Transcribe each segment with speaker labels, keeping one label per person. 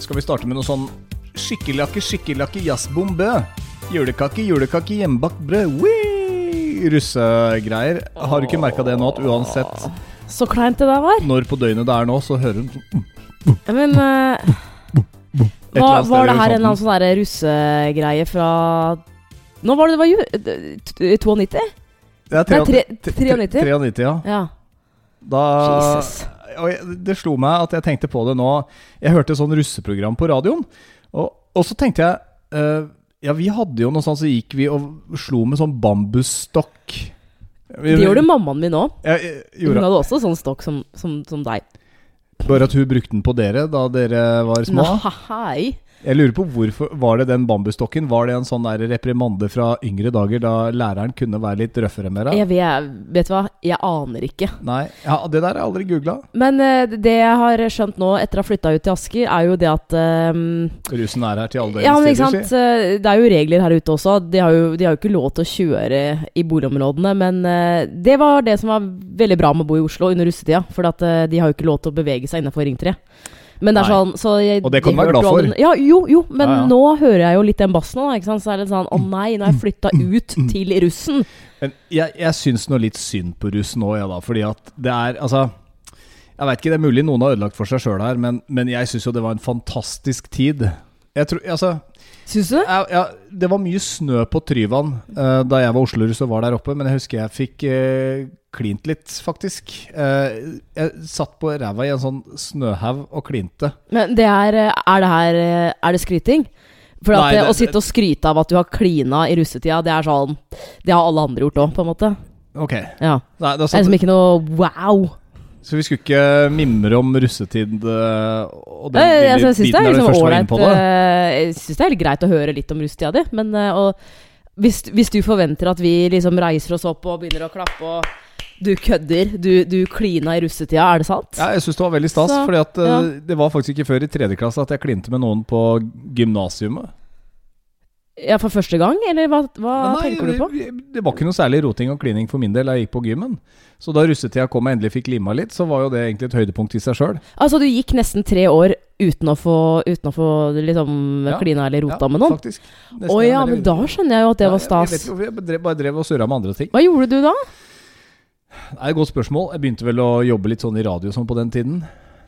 Speaker 1: Skal vi starte med noe sånn skikkelakke, skikkelakke, jazzbombe? Julekake, julekake, hjemmebakt brød. Wee! Russegreier. Har du ikke merka det nå, at uansett
Speaker 2: Så kleint det der var.
Speaker 1: når på døgnet det er nå, så hører hun sånn,
Speaker 2: Men eh,
Speaker 1: eller
Speaker 2: hva,
Speaker 1: annet sted
Speaker 2: var
Speaker 1: i
Speaker 2: det her en eller annen
Speaker 1: horisonten.
Speaker 2: sånn der russegreie fra Nå var det det var ju... d- t- 92?
Speaker 1: Det er
Speaker 2: Nei,
Speaker 1: tre-
Speaker 2: tre-
Speaker 1: tre-
Speaker 2: 93?
Speaker 1: 93, ja.
Speaker 2: Ja.
Speaker 1: Da
Speaker 2: Jesus.
Speaker 1: og jeg, det slo meg at jeg tenkte på det nå. Jeg hørte et sånn russeprogram på radioen, og, og så tenkte jeg eh, Ja, vi hadde jo noe sånt, så gikk vi og slo med sånn bambusstokk.
Speaker 2: Det gjorde mammaen min òg.
Speaker 1: Jeg, jeg,
Speaker 2: Hun
Speaker 1: gjorde,
Speaker 2: hadde også sånn stokk som, som, som deg.
Speaker 1: bare at hun brukte den på dere da dere var små.
Speaker 2: Nei.
Speaker 1: Jeg lurer på hvorfor Var det den bambusstokken? Var det en sånn der reprimande fra yngre dager, da læreren kunne være litt røffere med deg?
Speaker 2: Jeg vet, vet du hva, jeg aner ikke.
Speaker 1: Nei, ja, det der har jeg aldri googla.
Speaker 2: Men eh, det jeg har skjønt nå etter å ha flytta ut til Asker, er jo det at eh,
Speaker 1: Rusen er her til alle
Speaker 2: Ja, men
Speaker 1: døgnets
Speaker 2: ikke
Speaker 1: tider,
Speaker 2: sant. eh, Det er jo regler her ute også. De har jo, de har jo ikke lov til å kjøre i boligområdene. Men eh, det var det som var veldig bra med å bo i Oslo under russetida. For at eh, de har jo ikke lov til å bevege seg innenfor Ring 3. Men det er
Speaker 1: Nei.
Speaker 2: sånn så jeg,
Speaker 1: Og det kan du
Speaker 2: jeg
Speaker 1: være
Speaker 2: hørte
Speaker 1: glad
Speaker 2: jo
Speaker 1: for.
Speaker 2: alle- Ja, jo, jo, men
Speaker 1: Ja, ja.
Speaker 2: nå hører jeg jo litt den bassen nå, ikke sant. Så er det litt sånn å nei, nå har jeg flytta ut
Speaker 1: Mm.
Speaker 2: til russen.
Speaker 1: Men jeg, jeg syns noe litt synd på russ nå, ja da. Fordi at det er Altså, jeg veit ikke, det er mulig noen har ødelagt for seg sjøl her, men, men jeg syns jo det var en fantastisk tid. Jeg tror, altså,
Speaker 2: Syns du?
Speaker 1: jeg, jeg, det var mye snø på Tryvann eh, da jeg var Oslo-russ og var der oppe, men jeg husker jeg fikk eh, klint litt, faktisk. Eh, jeg satt på ræva i en sånn snøhaug og klinte.
Speaker 2: Men det er eh, Er det her eh, Er det skryting? For at
Speaker 1: Nei,
Speaker 2: eh,
Speaker 1: det-
Speaker 2: Å sitte og skryte av at du har klina i russetida, det er sånn Det har alle andre gjort òg, på en måte.
Speaker 1: Ok.
Speaker 2: Ja.
Speaker 1: Nei, da
Speaker 2: Det er
Speaker 1: satt,
Speaker 2: liksom ikke noe wow.
Speaker 1: så vi skulle ikke mimre om russetid eh, og den
Speaker 2: Jeg, jeg,
Speaker 1: lille
Speaker 2: jeg syns det
Speaker 1: biten
Speaker 2: er
Speaker 1: der du
Speaker 2: liksom
Speaker 1: først var inne
Speaker 2: ålreit
Speaker 1: på det.
Speaker 2: eh, Jeg syns det er helt greit å høre litt om rusttida di, men eh, og, hvis, hvis du forventer at vi liksom reiser oss opp og begynner å klappe og Du kødder. Du, du klina i russetida, er det sant?
Speaker 1: Ja, jeg syns det var veldig stas,
Speaker 2: Så,
Speaker 1: fordi at eh,
Speaker 2: ja.
Speaker 1: det var faktisk ikke før i tredje klasse at jeg klinte med noen på gymnasiumet.
Speaker 2: Ja, for første gang, eller hva, hva tenker du på?
Speaker 1: vi- vi- Det var ikke noe særlig roting og klining for min del, jeg gikk på gymmen. Så da russetida kom og jeg endelig fikk lima litt, så var jo det egentlig et høydepunkt i seg sjøl.
Speaker 2: Altså, du gikk nesten tre år uten å få, uten å få liksom
Speaker 1: Ja,
Speaker 2: klina eller rota med noen?
Speaker 1: faktisk. Nesten
Speaker 2: Å ja,
Speaker 1: en veldig-
Speaker 2: men da skjønner jeg jo at det
Speaker 1: Ja,
Speaker 2: var
Speaker 1: Jeg, jeg,
Speaker 2: stas.
Speaker 1: vet ikke hvorfor, jeg drev, bare drev og surra med andre ting.
Speaker 2: Hva gjorde du da?
Speaker 1: Det er et godt spørsmål. Jeg begynte vel å jobbe litt sånn i radio sånn på den tiden.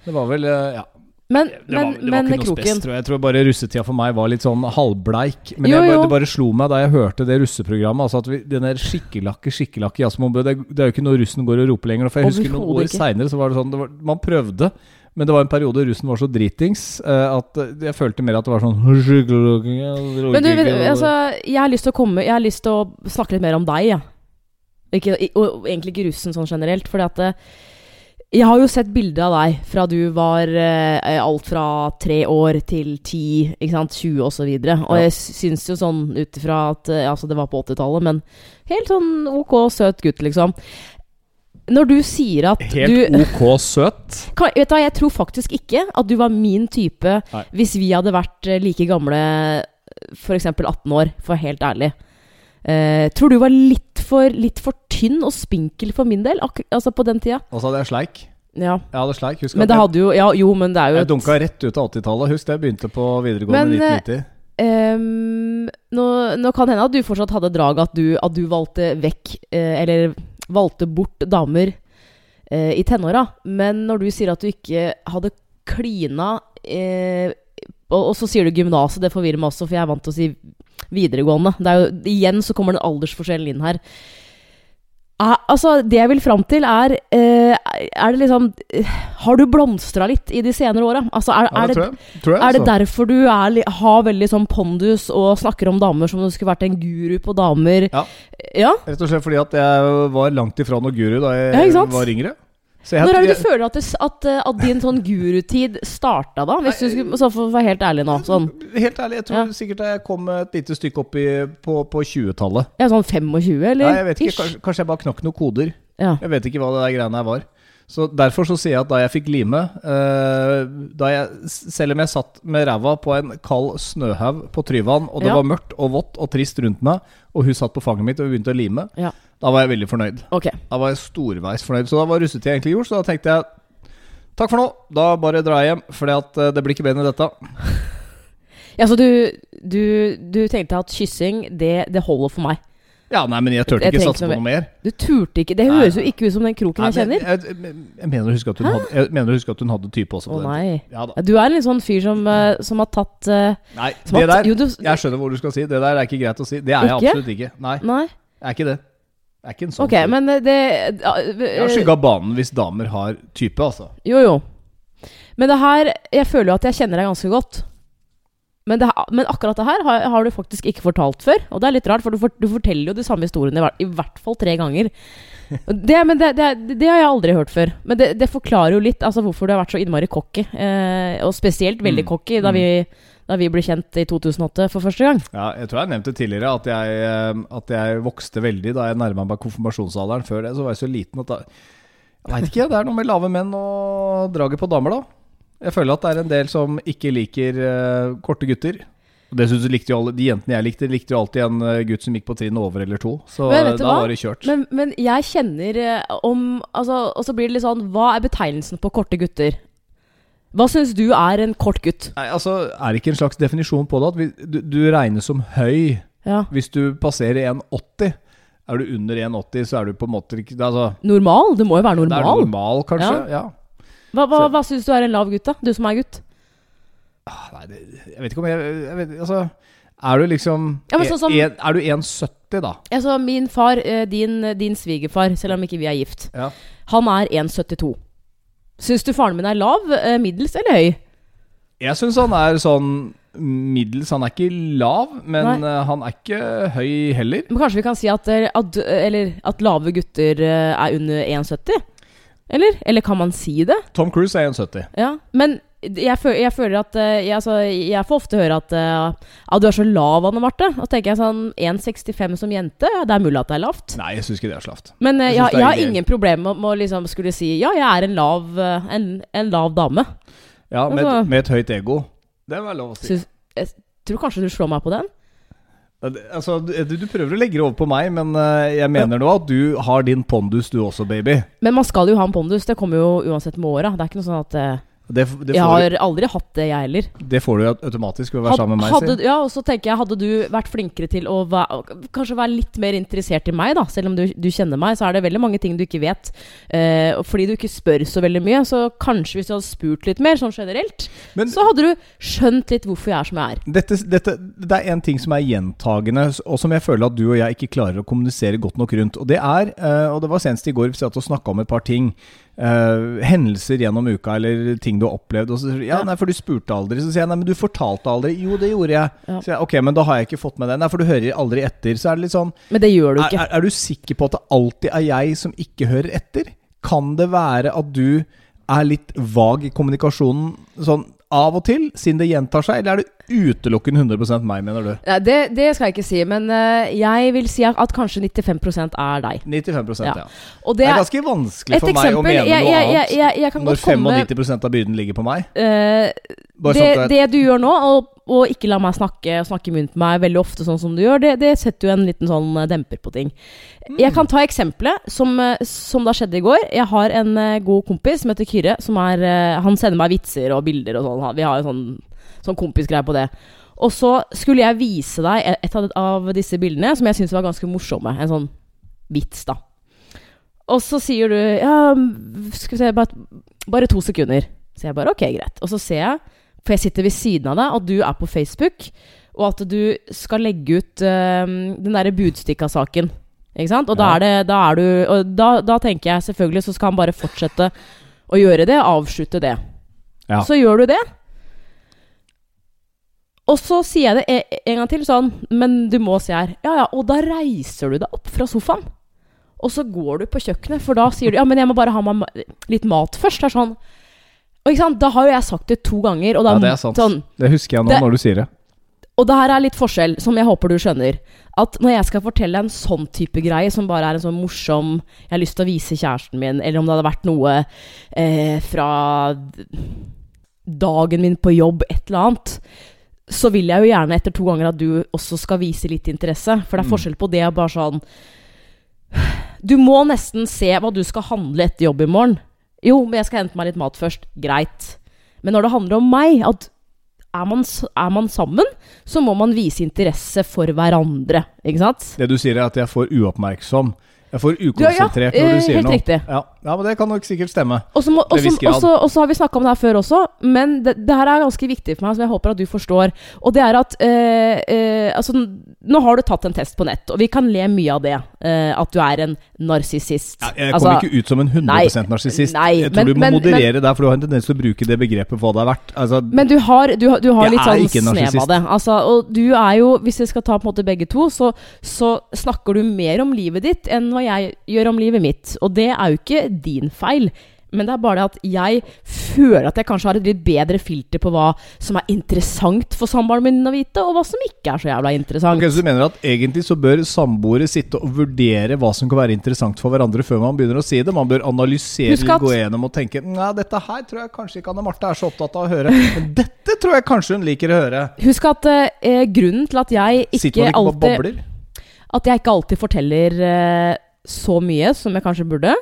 Speaker 1: Det var vel eh, ja.
Speaker 2: Men,
Speaker 1: Det var,
Speaker 2: men,
Speaker 1: det var
Speaker 2: men
Speaker 1: ikke noe spes,
Speaker 2: Kroken
Speaker 1: tror jeg. Jeg tror bare russetida for meg var litt sånn halvbleik. Men
Speaker 2: Jo,
Speaker 1: jeg bare,
Speaker 2: jo.
Speaker 1: det bare slo meg da jeg hørte det russeprogrammet. Altså at vi, den der skikkelakke, skikkelakke jazzbombe det, det er jo ikke noe russen går og roper lenger. For jeg husker noen år
Speaker 2: Overhodet ikke.
Speaker 1: seinere så var det sånn det var, Man prøvde, men det var en periode russen var så dritings eh, at eh, jeg følte mer at det var sånn
Speaker 2: Men du, vet- altså,
Speaker 1: altså,
Speaker 2: jeg har lyst til å komme Jeg har lyst til å snakke litt mer om deg, ja. Ikke, i- og og egentlig ikke russen sånn generelt, fordi at eh, Jeg har jo sett bilder av deg fra du var eh, alt fra tre år til ti, ikke sant, 20 og så videre. Og
Speaker 1: Ja.
Speaker 2: jeg syns jo sånn ut ifra at eh, Altså, det var på 80-tallet, men helt sånn ok, søt gutt, liksom. Når du sier at du
Speaker 1: Helt ok søt.
Speaker 2: kan, vet du hva, Jeg tror faktisk ikke at du var min type
Speaker 1: Nei.
Speaker 2: hvis vi hadde vært eh, like gamle, f.eks. 18 år, for helt ærlig. Eh, tror du var litt for, litt for tynn og spinkel for min del, ak altså på den tida?
Speaker 1: Og så hadde jeg sleik.
Speaker 2: Ja.
Speaker 1: Jeg hadde sleik, husker
Speaker 2: Men det hadde jo Ja, jo, men det er jo
Speaker 1: jeg, jeg
Speaker 2: et-
Speaker 1: dunka rett ut av 80-tallet. Husk det, jeg begynte på
Speaker 2: Men, eh,
Speaker 1: videregående i 1990.
Speaker 2: Ehm, nå, nå kan det hende at du fortsatt hadde drag at du, at du valgte vekk eh, Eller valgte bort damer eh, i tenåra. Men når du sier at du ikke hadde klina eh, og, og så sier du gymnaset, det forvirrer meg også, for jeg er vant til å si videregående. Det er jo, igjen så kommer den aldersforskjellen inn her. Er, altså, det jeg vil fram til, er eh, Er det liksom Har du blomstra litt i de senere åra? Altså, er,
Speaker 1: Ja,
Speaker 2: er det
Speaker 1: tror jeg. Tror jeg,
Speaker 2: er det
Speaker 1: altså.
Speaker 2: derfor du er, li- har veldig sånn pondus og snakker om damer som om du skulle vært en guru på damer?
Speaker 1: Ja.
Speaker 2: Ja?
Speaker 1: Rett og slett fordi at jeg var langt ifra noe guru da jeg
Speaker 2: Ja, ikke sant?
Speaker 1: var yngre. Så
Speaker 2: Når er det
Speaker 1: jeg-
Speaker 2: du føler at, det, s- at, eh, at din sånn gurutid starta, da? Hvis du skulle, så for å være helt ærlig nå. Sånn,
Speaker 1: Helt ærlig, jeg tror
Speaker 2: Ja.
Speaker 1: sikkert jeg kom et lite stykke opp i, på, på 20-tallet.
Speaker 2: ja, sånn 25, eller?
Speaker 1: Nei, jeg vet ikke, kanskje, kanskje jeg bare knakk noen koder.
Speaker 2: Ja.
Speaker 1: Jeg vet ikke hva det der greiene her var. Så Derfor så sier jeg at da jeg fikk lime eh, da jeg, Selv om jeg satt med ræva på en kald snøhaug på Tryvann, og det
Speaker 2: Ja.
Speaker 1: var mørkt og vått og trist rundt meg, og hun satt på fanget mitt og vi begynte å lime,
Speaker 2: Ja.
Speaker 1: da var jeg veldig fornøyd.
Speaker 2: Ok.
Speaker 1: Da var jeg storveis fornøyd. Så da var russetida egentlig gjort, så da tenkte jeg Takk for nå. Da bare drar jeg hjem, for det blir ikke bedre enn dette.
Speaker 2: Ja, så du, du, du tenkte at kyssing, det, det holder for meg.
Speaker 1: Ja, nei, men jeg turte
Speaker 2: Jeg
Speaker 1: ikke
Speaker 2: trenger
Speaker 1: satse
Speaker 2: ikke
Speaker 1: på
Speaker 2: noe
Speaker 1: noe mer.
Speaker 2: Du turte ikke Det
Speaker 1: Nei.
Speaker 2: høres jo ikke ut som den kroken
Speaker 1: Nei,
Speaker 2: jeg
Speaker 1: men
Speaker 2: kjenner.
Speaker 1: jeg, jeg, jeg mener å huske at hun hadde, jeg mener å huske at hun hadde type også.
Speaker 2: Å
Speaker 1: På den.
Speaker 2: nei.
Speaker 1: Ja da.
Speaker 2: Ja, Du er en litt sånn fyr som, eh, som har tatt eh,
Speaker 1: Nei,
Speaker 2: som
Speaker 1: det
Speaker 2: har,
Speaker 1: der
Speaker 2: Jo, du,
Speaker 1: Jeg skjønner hvor du skal si. Det der er ikke greit å si. Det er jeg
Speaker 2: Ikke?
Speaker 1: absolutt ikke. Nei,
Speaker 2: Nei?
Speaker 1: jeg er ikke det. Jeg er ikke en sånn
Speaker 2: Ok,
Speaker 1: fyr.
Speaker 2: men eh, det
Speaker 1: Jeg har skygga banen hvis damer har type, altså.
Speaker 2: Jo, jo. Men det her Jeg føler jo at jeg kjenner deg ganske godt. Men, det, her- men akkurat det her har, har du faktisk ikke fortalt før. Og det er litt rart, for du, fort- du forteller jo de samme historiene i, hver- i hvert fall tre ganger. Og Det, men det, det, det har jeg aldri hørt før. Men det, det forklarer jo litt altså, hvorfor du har vært så innmari cocky. Eh, og spesielt
Speaker 1: Mm.
Speaker 2: veldig cocky da,
Speaker 1: Mm.
Speaker 2: vi, da vi ble kjent i 2008 for første gang.
Speaker 1: Ja, jeg tror jeg nevnte tidligere at jeg, eh, at jeg vokste veldig da jeg nærma meg konfirmasjonsalderen. Før det så var jeg så liten at da Jeg veit ikke, det er noe med lave menn og draget på damer, da. Jeg føler at det er en del som ikke liker eh, korte gutter. Og Dessuten så likte jo alle de jentene jeg likte, likte jo alltid en eh, gutt som gikk på trinnet over eller to. Så
Speaker 2: Men
Speaker 1: eh,
Speaker 2: vet du
Speaker 1: da
Speaker 2: hva?
Speaker 1: var det kjørt.
Speaker 2: Men, men jeg kjenner eh, om altså, Og så blir det litt sånn Hva er betegnelsen på korte gutter? Hva syns du er en kort gutt?
Speaker 1: Nei, altså, Er det ikke en slags definisjon på det? At vi, du, du regnes som høy
Speaker 2: Ja.
Speaker 1: hvis du passerer 1,80. Er du under 1,80, så er du på en måte ikke altså,
Speaker 2: Normal? Det må jo være
Speaker 1: Da er du
Speaker 2: normal.
Speaker 1: normal, kanskje. Ja.
Speaker 2: Hva, hva, hva syns du er en lav gutt, da? Du som er gutt.
Speaker 1: Ah, Nei, det, jeg vet ikke om jeg, jeg vet, Altså, er du liksom
Speaker 2: Ja, men sånn som-
Speaker 1: en, Er du 1,70, da?
Speaker 2: Altså, min far, eh, din, din svigerfar, selv om ikke vi er gift,
Speaker 1: Ja.
Speaker 2: han er 1,72. Syns du faren min er lav, eh, middels eller høy?
Speaker 1: Jeg syns han er sånn middels. Han er ikke lav, men eh, han er ikke høy heller.
Speaker 2: Men kanskje vi kan si at, eh, at, eller, at lave gutter eh, er under 1,70? Eller? Eller kan man si det?
Speaker 1: Tom Cruise er 1,70.
Speaker 2: Ja, men jeg, føl jeg føler at eh, jeg, altså, jeg får ofte høre at eh, ja, du er så lav, Anne Marte. Og så tenker jeg sånn 1,65 som jente, ja, det er mulig at det er lavt.
Speaker 1: Nei, jeg syns ikke det er slavt.
Speaker 2: Men eh,
Speaker 1: Jeg
Speaker 2: jeg,
Speaker 1: synes det
Speaker 2: jeg,
Speaker 1: er
Speaker 2: har
Speaker 1: hyggelig.
Speaker 2: ingen problemer med, med å liksom skulle si ja, jeg er en lav, eh, en, en lav dame.
Speaker 1: Ja, med,
Speaker 2: Altså-
Speaker 1: med et høyt ego. Det var lov å si.
Speaker 2: Syns- jeg tror kanskje du slår meg på den?
Speaker 1: Ja, det- Altså, du, du prøver å legge det over på meg, men eh, jeg mener nå at du har din pondus du også, baby.
Speaker 2: Men man skal jo ha en pondus. Det kommer jo uansett med åra. Det er ikke noe sånn at eh,
Speaker 1: Det, f- det,
Speaker 2: Jeg
Speaker 1: får,
Speaker 2: har aldri hatt det, jeg heller.
Speaker 1: du- det får du jo automatisk ved å være
Speaker 2: Had-
Speaker 1: sammen med meg.
Speaker 2: hadde,
Speaker 1: sier.
Speaker 2: ja, og så tenker jeg, hadde du vært flinkere til å være, kanskje være litt mer interessert i meg, da. Selv om du, du kjenner meg, så er det veldig mange ting du ikke vet. Eh, og fordi du ikke spør så veldig mye, så kanskje hvis du hadde spurt litt mer, sånn generelt,
Speaker 1: Men-
Speaker 2: så hadde du skjønt litt hvorfor jeg er som jeg er.
Speaker 1: Dette, dette, det er en ting som er gjentagende, og som jeg føler at du og jeg ikke klarer å kommunisere godt nok rundt. Og det er, eh, og det var senest i går vi satt og snakka om et par ting. eh, hendelser gjennom uka, eller ting du har opplevd. Og så sier du ja,
Speaker 2: Ja.
Speaker 1: nei, for du spurte aldri. Så sier jeg nei, men du fortalte aldri. Jo, det gjorde jeg.
Speaker 2: Ja.
Speaker 1: Så sier jeg ok, men da har jeg ikke fått med det. Nei, for du hører aldri etter. Så er det litt sånn
Speaker 2: Men det gjør du
Speaker 1: Er,
Speaker 2: ikke.
Speaker 1: er, er du sikker på at det alltid er jeg som ikke hører etter? Kan det være at du er litt vag i kommunikasjonen sånn av og til, siden det gjentar seg, eller er det utelukkende 100 meg, mener du?
Speaker 2: Nei, det, det skal jeg ikke si, men eh, jeg vil si at kanskje 95 er deg.
Speaker 1: 95 ja.
Speaker 2: Ja. Og
Speaker 1: Det
Speaker 2: det
Speaker 1: er
Speaker 2: er
Speaker 1: ganske vanskelig
Speaker 2: et
Speaker 1: for meg å
Speaker 2: eksempel.
Speaker 1: mene
Speaker 2: Jeg, jeg,
Speaker 1: noe
Speaker 2: jeg, jeg,
Speaker 1: annet
Speaker 2: jeg kan
Speaker 1: når
Speaker 2: godt komme
Speaker 1: 95 av byrden ligger på meg.
Speaker 2: eh,
Speaker 1: Bare
Speaker 2: det,
Speaker 1: sånn at
Speaker 2: det du gjør nå, og, og ikke la meg snakke og snakke i munnen på meg veldig ofte, sånn som du gjør, det, det setter jo en liten sånn eh, demper på ting. Jeg kan ta eksempelet som, eh, som da skjedde i går. Jeg har en eh, god kompis som heter Kyrre. Som er, eh, han sender meg vitser og bilder og sånn. Han- Vi har jo sånn, sånn kompisgreie på det. Og så skulle jeg vise deg et- et av- av disse bildene som jeg syntes var ganske morsomme. En sånn vits, da. Og så sier du Ja, skal vi se, bare, bare to sekunder. Så jeg bare ok, greit. Og så ser jeg, for jeg sitter ved siden av deg, at du er på Facebook, og at du skal legge ut øhm, den derre Budstikka-saken. Ikke sant? Og da
Speaker 1: Ja.
Speaker 2: er det Da er du Og da, da tenker jeg selvfølgelig så skal han bare fortsette å gjøre det, avslutte det.
Speaker 1: Ja.
Speaker 2: Så gjør du det. Og så sier jeg det e- en gang til sånn, men du må se her. Ja, ja, og da reiser du deg opp fra sofaen. Og så går du på kjøkkenet, for da sier du ja, men jeg må bare ha meg ma- litt mat først. Det er sånn. Og ikke sant? Da har jo jeg sagt det to ganger, og da
Speaker 1: Ja, det er sant.
Speaker 2: sånn
Speaker 1: Det husker jeg nå
Speaker 2: det-
Speaker 1: når du sier det.
Speaker 2: og det her er litt forskjell, som jeg håper du skjønner. At når jeg skal fortelle en sånn type greie, som bare er en sånn morsom Jeg har lyst til å vise kjæresten min, eller om det hadde vært noe eh, fra dagen min på jobb, et eller annet. Så vil jeg jo gjerne etter to ganger at du også skal vise litt interesse. For det er forskjell på det og bare sånn Du må nesten se hva du skal handle etter jobb i morgen. Jo, men jeg skal hente meg litt mat først. Greit. Men når det handler om meg, at er man, s- er man sammen, så må man vise interesse for hverandre. Ikke sant?
Speaker 1: Det du sier er at jeg får uoppmerksom. Jeg får
Speaker 2: ja,
Speaker 1: ukonsentrert når
Speaker 2: eh,
Speaker 1: du sier
Speaker 2: helt
Speaker 1: noe.
Speaker 2: riktig.
Speaker 1: Ja. ja, men det kan nok sikkert stemme.
Speaker 2: Og så må- og
Speaker 1: Til en viss
Speaker 2: så-
Speaker 1: grad.
Speaker 2: og så og så har vi snakka om det her før også, men det, det her er ganske viktig for meg, som jeg håper at du forstår. Og det er at eh, eh, altså, n- Nå har du tatt en test på nett, og vi kan le mye av det. eh, at du er en narsissist.
Speaker 1: Ja, jeg kommer ikke ut som en 100 narsissist.
Speaker 2: Altså, nei,
Speaker 1: Jeg tror
Speaker 2: men-
Speaker 1: du må
Speaker 2: men-
Speaker 1: moderere der, for du har en tendens til å bruke det begrepet for hva det er verdt. Altså,
Speaker 2: Men du har, du, har- du har
Speaker 1: Jeg
Speaker 2: litt
Speaker 1: er
Speaker 2: sånn
Speaker 1: ikke en
Speaker 2: snev av
Speaker 1: narsissist.
Speaker 2: det. Altså, og du er jo, hvis jeg skal ta på en måte begge to, så, så snakker du mer om livet ditt enn hva jeg gjør om livet mitt. Og det er jo ikke din feil. Men det er bare det at jeg føler at jeg kanskje har et litt bedre filter på hva som er interessant for samboeren min å vite, og hva som ikke er så jævla interessant.
Speaker 1: Ok, så du mener at egentlig så bør samboere sitte og vurdere hva som kan være interessant for hverandre før man begynner å si det? Man bør analysere,
Speaker 2: Husk at-
Speaker 1: gå gjennom og tenke Nei, dette her tror jeg kanskje ikke Anne Marte er så opptatt av å høre. Men dette tror jeg kanskje hun liker å høre.
Speaker 2: Husk at eh, grunnen til at jeg ikke,
Speaker 1: Sitter man ikke bare og
Speaker 2: alltid
Speaker 1: babler?
Speaker 2: At jeg ikke alltid forteller eh, så mye som jeg kanskje burde.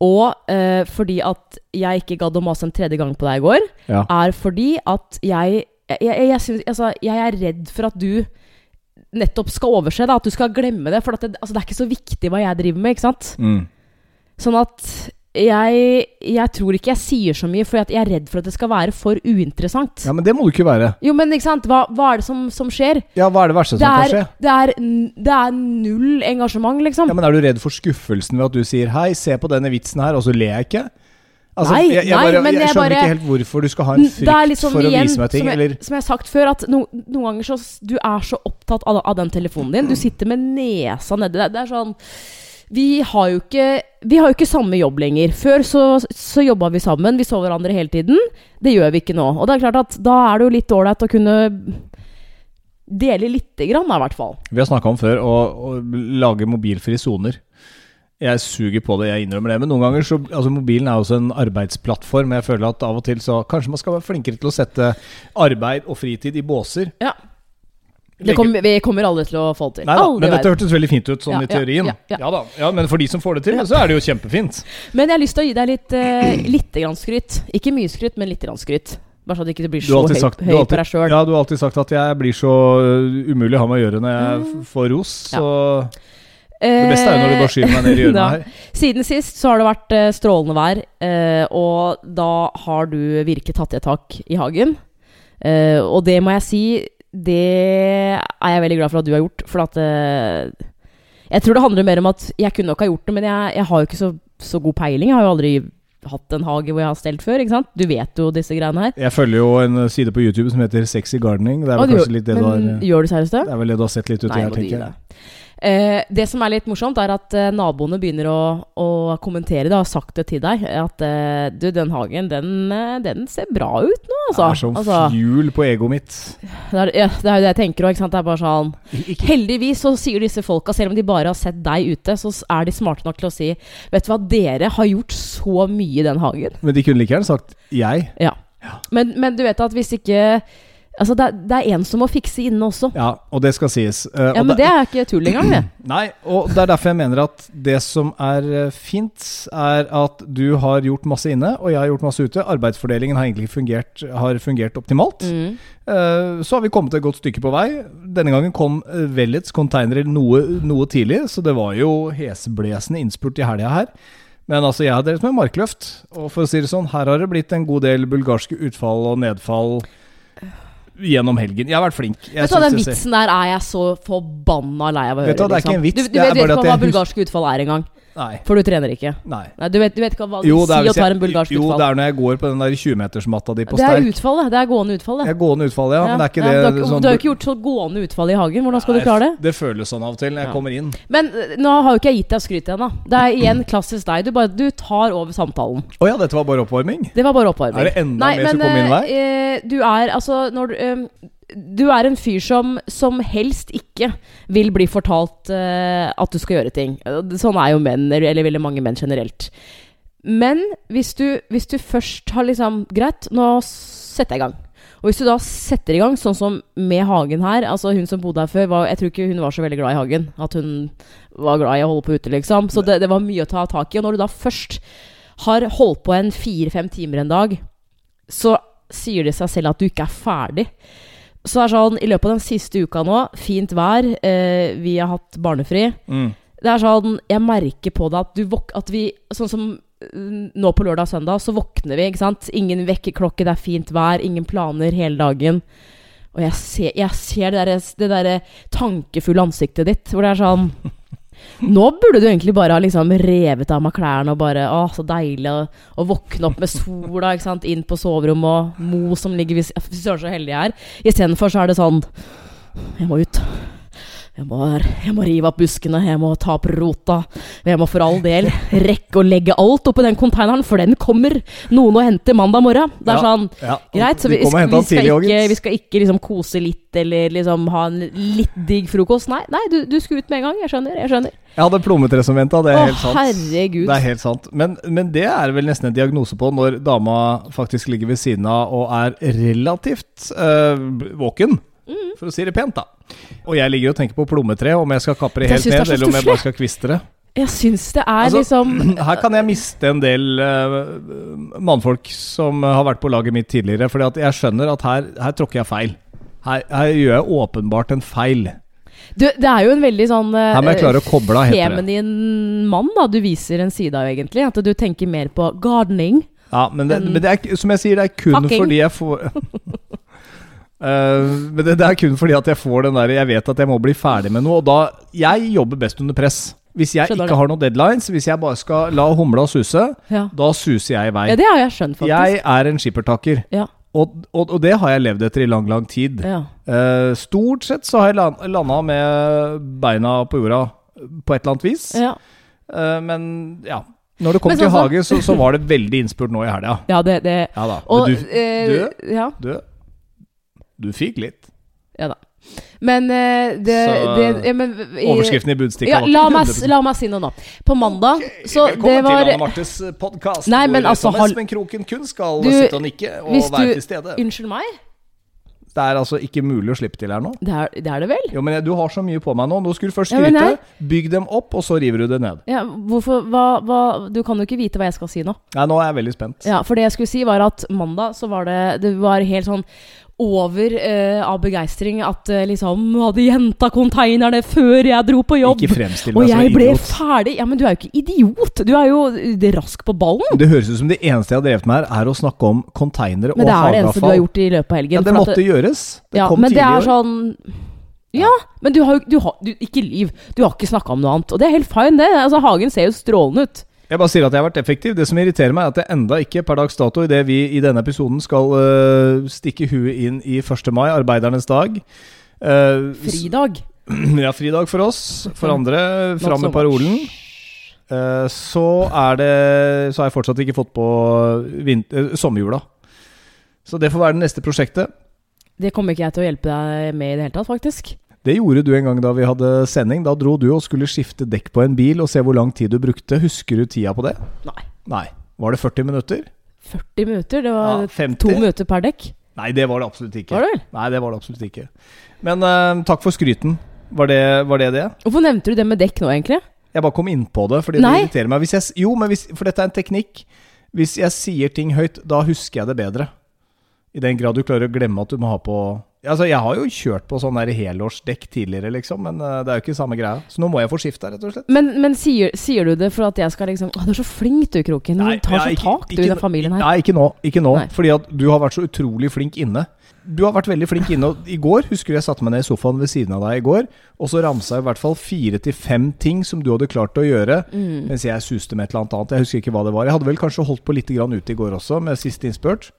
Speaker 2: Og eh, fordi at jeg ikke gadd å mase en tredje gang på deg i går,
Speaker 1: Ja.
Speaker 2: er fordi at jeg jeg, jeg, jeg, syns- altså, jeg er redd for at du nettopp skal overse det, at du skal glemme det. For at det, altså, det er ikke så viktig hva jeg driver med, ikke sant?
Speaker 1: Mm.
Speaker 2: Sånn at jeg, jeg tror ikke jeg sier så mye, for at jeg er redd for at det skal være for uinteressant.
Speaker 1: ja, men det må du ikke være.
Speaker 2: Jo, men ikke sant? Hva, hva er det som, som skjer?
Speaker 1: Ja, hva er det verste
Speaker 2: Det
Speaker 1: som kan
Speaker 2: er,
Speaker 1: skje?
Speaker 2: det, er, n- det er null engasjement, liksom.
Speaker 1: Ja, men Er du redd for skuffelsen ved at du sier 'hei, se på denne vitsen her', og så ler jeg ikke? Altså,
Speaker 2: Nei,
Speaker 1: jeg, jeg,
Speaker 2: nei,
Speaker 1: bare,
Speaker 2: men
Speaker 1: jeg
Speaker 2: jeg
Speaker 1: skjønner
Speaker 2: bare-
Speaker 1: ikke helt hvorfor du skal ha en
Speaker 2: N- det er
Speaker 1: frykt
Speaker 2: litt sånn
Speaker 1: for å
Speaker 2: igjen,
Speaker 1: vise meg ting.
Speaker 2: som,
Speaker 1: eller
Speaker 2: jeg, som jeg har sagt før, at no, noen ganger så s- Du er så opptatt av, av den telefonen din. Du sitter med nesa nedi der. Det er sånn vi har, jo ikke, vi har jo ikke samme jobb lenger. Før så, så jobba vi sammen. Vi så hverandre hele tiden. Det gjør vi ikke nå. Og det er klart at da er det jo litt ålreit å kunne dele lite grann, da, i hvert fall.
Speaker 1: Vi har snakka om før å, å lage mobilfrie soner. Jeg suger på det, jeg innrømmer det. Men noen ganger så altså Mobilen er jo også en arbeidsplattform. Jeg føler at av og til så Kanskje man skal være flinkere til å sette arbeid og fritid i båser.
Speaker 2: Ja. Det kom, vi kommer aldri til å få det til.
Speaker 1: Nei da,
Speaker 2: Aldri i
Speaker 1: men
Speaker 2: verden.
Speaker 1: dette hørtes veldig fint ut sånn
Speaker 2: Ja,
Speaker 1: i teorien.
Speaker 2: ja,
Speaker 1: Ja,
Speaker 2: ja, ja.
Speaker 1: da. Ja, men for de som får det til, så er det jo kjempefint.
Speaker 2: Men jeg har lyst til å gi deg litt, eh, lite grann skryt. Ikke mye skryt, men lite grann skryt. Bare så at det ikke blir
Speaker 1: Du har
Speaker 2: så høy,
Speaker 1: alltid sagt, du
Speaker 2: høy
Speaker 1: har
Speaker 2: på deg
Speaker 1: alltid,
Speaker 2: sjøl.
Speaker 1: ja, du har alltid sagt at jeg blir så øh, umulig å ha med å gjøre når jeg
Speaker 2: Mm.
Speaker 1: f- får ros. Så det beste er jo når du bare skyver meg
Speaker 2: Eh,
Speaker 1: ned i hjørnet her.
Speaker 2: Siden sist så har det vært eh, strålende vær, eh, og da har du virkelig tatt i et tak i hagen. Eh, og det må jeg si, det er jeg veldig glad for at du har gjort, for at eh, Jeg tror det handler mer om at jeg kunne nok ha gjort det, men jeg, jeg har jo ikke så, så god peiling. Jeg har jo aldri hatt en hage hvor jeg har stelt før, ikke sant. Du vet jo disse greiene her.
Speaker 1: Jeg følger jo en uh, side på YouTube som heter Sexy Gardening. Det er
Speaker 2: Å,
Speaker 1: vel
Speaker 2: du
Speaker 1: kanskje
Speaker 2: gjør-
Speaker 1: litt det du har uh, eh,
Speaker 2: men, Gjør du seriøst det?
Speaker 1: Det er vel det du har sett litt ut i
Speaker 2: Nei,
Speaker 1: her,
Speaker 2: må du gi
Speaker 1: tenker jeg.
Speaker 2: deg. Eh, det som er litt morsomt, er at eh, naboene begynner å, å kommentere det, og har sagt det til deg. At eh, du, den hagen, den, eh, den ser bra ut nå,
Speaker 1: Det
Speaker 2: altså.
Speaker 1: er som
Speaker 2: altså
Speaker 1: fuel på egoet mitt.
Speaker 2: det, er, ja, det er jo det jeg tenker òg, ikke sant. Det er bare sånn Heldigvis så sier disse folka, selv om de bare har sett deg ute, så s- er de smarte nok til å si Vet du hva, dere har gjort så mye i den hagen.
Speaker 1: Men de kunne like gjerne sagt jeg.
Speaker 2: Ja. Men, men du vet at hvis ikke Altså, det er, det er en som må fikse inne også.
Speaker 1: Ja, og det skal sies. Eh,
Speaker 2: Ja,
Speaker 1: og
Speaker 2: men
Speaker 1: det-
Speaker 2: det er ikke tull engang, det.
Speaker 1: Nei, og det er derfor jeg mener at det som er eh, fint, er at du har gjort masse inne, og jeg har gjort masse ute. Arbeidsfordelingen har egentlig fungert, har fungert optimalt.
Speaker 2: Mm.
Speaker 1: Eh, Så har vi kommet et godt stykke på vei. Denne gangen kom eh, Vellets containere noe, noe tidlig, så det var jo heseblesende innspurt i helga her. Men altså, jeg har drevet med markløft, og for å si det sånn, her har det blitt en god del bulgarske utfall og nedfall gjennom helgen. Jeg har vært flink. Jeg
Speaker 2: Vet du hva,
Speaker 1: synes
Speaker 2: Den
Speaker 1: jeg ser-
Speaker 2: vitsen der er jeg så forbanna lei av å høre. liksom.
Speaker 1: Vet du hva, det er ikke en vits,
Speaker 2: Du, du
Speaker 1: det er bare
Speaker 2: vet, vet
Speaker 1: at
Speaker 2: ikke hva
Speaker 1: jeg hus-
Speaker 2: bulgarsk utfall er engang,
Speaker 1: Nei.
Speaker 2: for du trener ikke.
Speaker 1: nei.
Speaker 2: Nei, Du vet, du vet ikke hva det
Speaker 1: Jo,
Speaker 2: vil
Speaker 1: det, er
Speaker 2: si å
Speaker 1: hvis
Speaker 2: ta en
Speaker 1: jeg,
Speaker 2: bulgarsk
Speaker 1: jo, det
Speaker 2: utfall.
Speaker 1: er når jeg går på den der 20-metersmatta di på
Speaker 2: Det er
Speaker 1: sterk.
Speaker 2: utfallet. Det er gående utfall, det.
Speaker 1: Jeg er gående utfall, ja,
Speaker 2: Ja,
Speaker 1: men det er ikke
Speaker 2: ja,
Speaker 1: det
Speaker 2: du, har, ikke-
Speaker 1: sånn-
Speaker 2: du har ikke gjort så gående utfall i hagen. Hvordan skal
Speaker 1: Nei,
Speaker 2: du klare det?
Speaker 1: Det føles sånn av og til når jeg
Speaker 2: Ja.
Speaker 1: kommer inn.
Speaker 2: Men eh, nå har jo ikke jeg gitt deg skryt ennå. Det er igjen klassisk deg. Du, bare, du tar over samtalen.
Speaker 1: Å ja, dette var bare oppvarming?
Speaker 2: Det var bare oppvarming.
Speaker 1: Er det enda
Speaker 2: Nei,
Speaker 1: mer som
Speaker 2: men,
Speaker 1: kommer inn der?
Speaker 2: eh, eh, Du er altså når du eh, Du er en fyr som som helst ikke vil bli fortalt eh, at du skal gjøre ting. Eh, Sånn er jo menn, eller eller veldig mange menn generelt. Men hvis du, hvis du først har liksom Greit, nå setter jeg i gang. Og hvis du da setter i gang, sånn som med hagen her Altså Hun som bodde her før, var, jeg tror ikke hun var så veldig glad i hagen. At hun var glad i å holde på ute, liksom. Så det, det var mye å ta tak i. Og når du da først har holdt på en fire-fem timer en dag, så sier det seg selv at du ikke er ferdig. Så det er sånn, i løpet av den siste uka nå, fint vær, eh, vi har hatt barnefri
Speaker 1: Mm.
Speaker 2: Det er sånn, jeg merker på det at du våk... At vi, sånn som eh, nå på lørdag og søndag, så våkner vi, ikke sant? Ingen vekkerklokke, det er fint vær, ingen planer hele dagen. Og jeg ser, jeg ser det derre det derre tankefulle ansiktet ditt, hvor det er sånn Nå burde du egentlig bare ha liksom revet av meg klærne og bare Å, så deilig å, å våkne opp med sola, ikke sant. Inn på soverommet og Mo som ligger ved siden Fy søren, så heldig jeg er. Istedenfor så er det sånn Jeg må ut. Jeg må, jeg må rive opp buskene, jeg må ta opp rota. Jeg må for all del rekke å legge alt oppi den konteineren, for den kommer noen å hente mandag morgen. Det er
Speaker 1: Ja.
Speaker 2: sånn
Speaker 1: Ja,
Speaker 2: Greit, så vi,
Speaker 1: de kommer og henter
Speaker 2: vi,
Speaker 1: han
Speaker 2: skal
Speaker 1: tidlig,
Speaker 2: ikke, vi
Speaker 1: Ågens.
Speaker 2: skal ikke liksom kose litt eller liksom ha en litt digg frokost. Nei, nei du, du skulle ut med en gang. Jeg skjønner. jeg skjønner.
Speaker 1: Jeg hadde plommetre som venta, det er
Speaker 2: Å,
Speaker 1: helt sant.
Speaker 2: herregud.
Speaker 1: Det er helt sant. Men, men det er vel nesten en diagnose på når dama faktisk ligger ved siden av og er relativt eh, våken,
Speaker 2: Mm.
Speaker 1: for å si det pent, da. Og jeg ligger og tenker på plommetre, om jeg skal kappe det
Speaker 2: Jeg
Speaker 1: helt
Speaker 2: synes det er
Speaker 1: ned,
Speaker 2: så
Speaker 1: eller om jeg
Speaker 2: stusslig.
Speaker 1: bare skal kviste det.
Speaker 2: Jeg syns det er
Speaker 1: Altså,
Speaker 2: liksom
Speaker 1: Her kan jeg miste en del eh, mannfolk som har vært på laget mitt tidligere, fordi at jeg skjønner at her, her tråkker jeg feil. Her, her gjør jeg åpenbart en feil.
Speaker 2: du, Det er jo en veldig sånn eh,
Speaker 1: Her må jeg klare å koble av, heter det.
Speaker 2: feminin mann da du viser en side av, egentlig. At du tenker mer på gardening.
Speaker 1: Ja, men, det, men det er, ikke- som jeg sier, det er kun
Speaker 2: Fucking.
Speaker 1: fordi jeg får Eh, Men det, det er kun fordi at jeg får den der Jeg vet at jeg må bli ferdig med noe, og da Jeg jobber best under press. Hvis jeg
Speaker 2: Skjønner
Speaker 1: ikke
Speaker 2: det.
Speaker 1: har noen deadlines, hvis jeg bare skal la humla suse,
Speaker 2: Ja,
Speaker 1: da suser jeg i vei.
Speaker 2: ja det har jeg skjønt, faktisk.
Speaker 1: jeg er en skippertaker,
Speaker 2: Ja,
Speaker 1: og, og, og det har jeg levd etter i lang, lang tid.
Speaker 2: ja.
Speaker 1: Eh, stort sett så har jeg lan- landa med beina på jorda på et eller annet vis,
Speaker 2: ja.
Speaker 1: Eh, men ja. Når det kom
Speaker 2: Men
Speaker 1: til
Speaker 2: sånn
Speaker 1: hage, så, så var det veldig innspurt nå i helga.
Speaker 2: ja det, det
Speaker 1: Ja da.
Speaker 2: Og
Speaker 1: men du,
Speaker 2: eh, ja,
Speaker 1: du, du fikk litt.
Speaker 2: ja da. Men eh, det,
Speaker 1: Så,
Speaker 2: det ja, men, i-
Speaker 1: Overskriften i budstikka
Speaker 2: Ja,
Speaker 1: var
Speaker 2: la
Speaker 1: ikke
Speaker 2: meg,
Speaker 1: 100%.
Speaker 2: la meg si noe nå. På mandag så det
Speaker 1: Velkommen
Speaker 2: var
Speaker 1: til Anne Martes podkast,
Speaker 2: Nei, men altså,
Speaker 1: som
Speaker 2: hal-
Speaker 1: Espen Kroken kun skal
Speaker 2: Du,
Speaker 1: sitte og nikke og
Speaker 2: hvis
Speaker 1: være
Speaker 2: du-
Speaker 1: til stede.
Speaker 2: Unnskyld meg?
Speaker 1: Det er altså ikke mulig å slippe til her nå.
Speaker 2: Det er det, er det vel?
Speaker 1: Jo, men jeg- Du har så mye på meg nå. Nå skulle du først
Speaker 2: Ja, men
Speaker 1: skryte. Bygg dem opp, og så river du det ned.
Speaker 2: Ja, hvorfor hva, hva Du kan jo ikke vite hva jeg skal si nå.
Speaker 1: Nei, Nå er jeg veldig spent.
Speaker 2: Ja, For det jeg skulle si, var at mandag så var det Det var helt sånn over eh, av begeistring at eh, liksom Hadde jenta konteinerne før jeg dro på jobb!
Speaker 1: Ikke fremstill
Speaker 2: og
Speaker 1: meg som
Speaker 2: jeg
Speaker 1: en
Speaker 2: ble
Speaker 1: idiot.
Speaker 2: ferdig! Ja, men du er jo ikke idiot! Du er jo eh, rask på ballen!
Speaker 1: Det høres ut som det eneste jeg har drevet med her, er å snakke om konteinere og
Speaker 2: Men det er det eneste du har
Speaker 1: hageavfall.
Speaker 2: gjort i løpet av helgen.
Speaker 1: Ja, det
Speaker 2: for at
Speaker 1: måtte gjøres. Det
Speaker 2: ja,
Speaker 1: kom
Speaker 2: men det
Speaker 1: tidlig i
Speaker 2: er
Speaker 1: år.
Speaker 2: sånn Ja, men du har jo du har, du, Ikke lyv. Du har ikke snakka om noe annet. Og det er helt fine, det. Altså, Hagen ser jo strålende ut.
Speaker 1: Jeg bare sier at jeg har vært effektiv. Det som irriterer meg, er at jeg enda ikke per dags dato, idet vi i denne episoden skal øh, stikke huet inn i 1. mai, arbeidernes dag øh,
Speaker 2: Fridag.
Speaker 1: s- Ja, fridag for oss. For andre,
Speaker 2: Not
Speaker 1: fram
Speaker 2: so
Speaker 1: med parolen. Eh, så er det Så har jeg fortsatt ikke fått på vin- eh, sommerjula. Så det får være det neste prosjektet.
Speaker 2: Det kommer ikke jeg til å hjelpe deg med i det hele tatt, faktisk.
Speaker 1: Det gjorde du en gang da vi hadde sending. Da dro du og skulle skifte dekk på en bil og se hvor lang tid du brukte. Husker du tida på det?
Speaker 2: Nei.
Speaker 1: Nei. Var det 40 minutter?
Speaker 2: 40 minutter? Det var
Speaker 1: Ja, 50.
Speaker 2: to minutter per dekk,
Speaker 1: Nei, det var det absolutt ikke.
Speaker 2: var det vel?
Speaker 1: Nei, det var det absolutt ikke. Men eh, takk for skryten. Var det, var det det?
Speaker 2: Hvorfor nevnte du det med dekk nå, egentlig?
Speaker 1: Jeg bare kom inn på det, fordi
Speaker 2: Nei.
Speaker 1: det irriterer meg. Hvis jeg, s- jo, men hvis, for dette er en teknikk. Hvis jeg sier ting høyt, da husker jeg det bedre. I den grad du klarer å glemme at du må ha på Altså, jeg har jo kjørt på sånn der helårsdekk tidligere, liksom, men eh, det er jo ikke samme greia. Så nå må jeg få skifta, rett og slett.
Speaker 2: Men, men sier, sier du det for at jeg skal liksom Å, du er så flink du, Kroken.
Speaker 1: Nei,
Speaker 2: Du tar
Speaker 1: jeg
Speaker 2: så
Speaker 1: er ikke-
Speaker 2: tak, du, i
Speaker 1: ikke-
Speaker 2: den familien her.
Speaker 1: Nei, ikke nå. Ikke nå
Speaker 2: Nei.
Speaker 1: Fordi at du har vært så utrolig flink inne. Du har vært veldig flink inne. Og I går husker du jeg satte meg ned i sofaen ved siden av deg i går, og så ramsa jeg i hvert fall fire til fem ting som du hadde klart å gjøre,
Speaker 2: Mm.
Speaker 1: mens jeg suste med et eller annet annet. Jeg husker ikke hva det var. Jeg hadde vel kanskje holdt på litt grann ute i går også, med siste innspurt.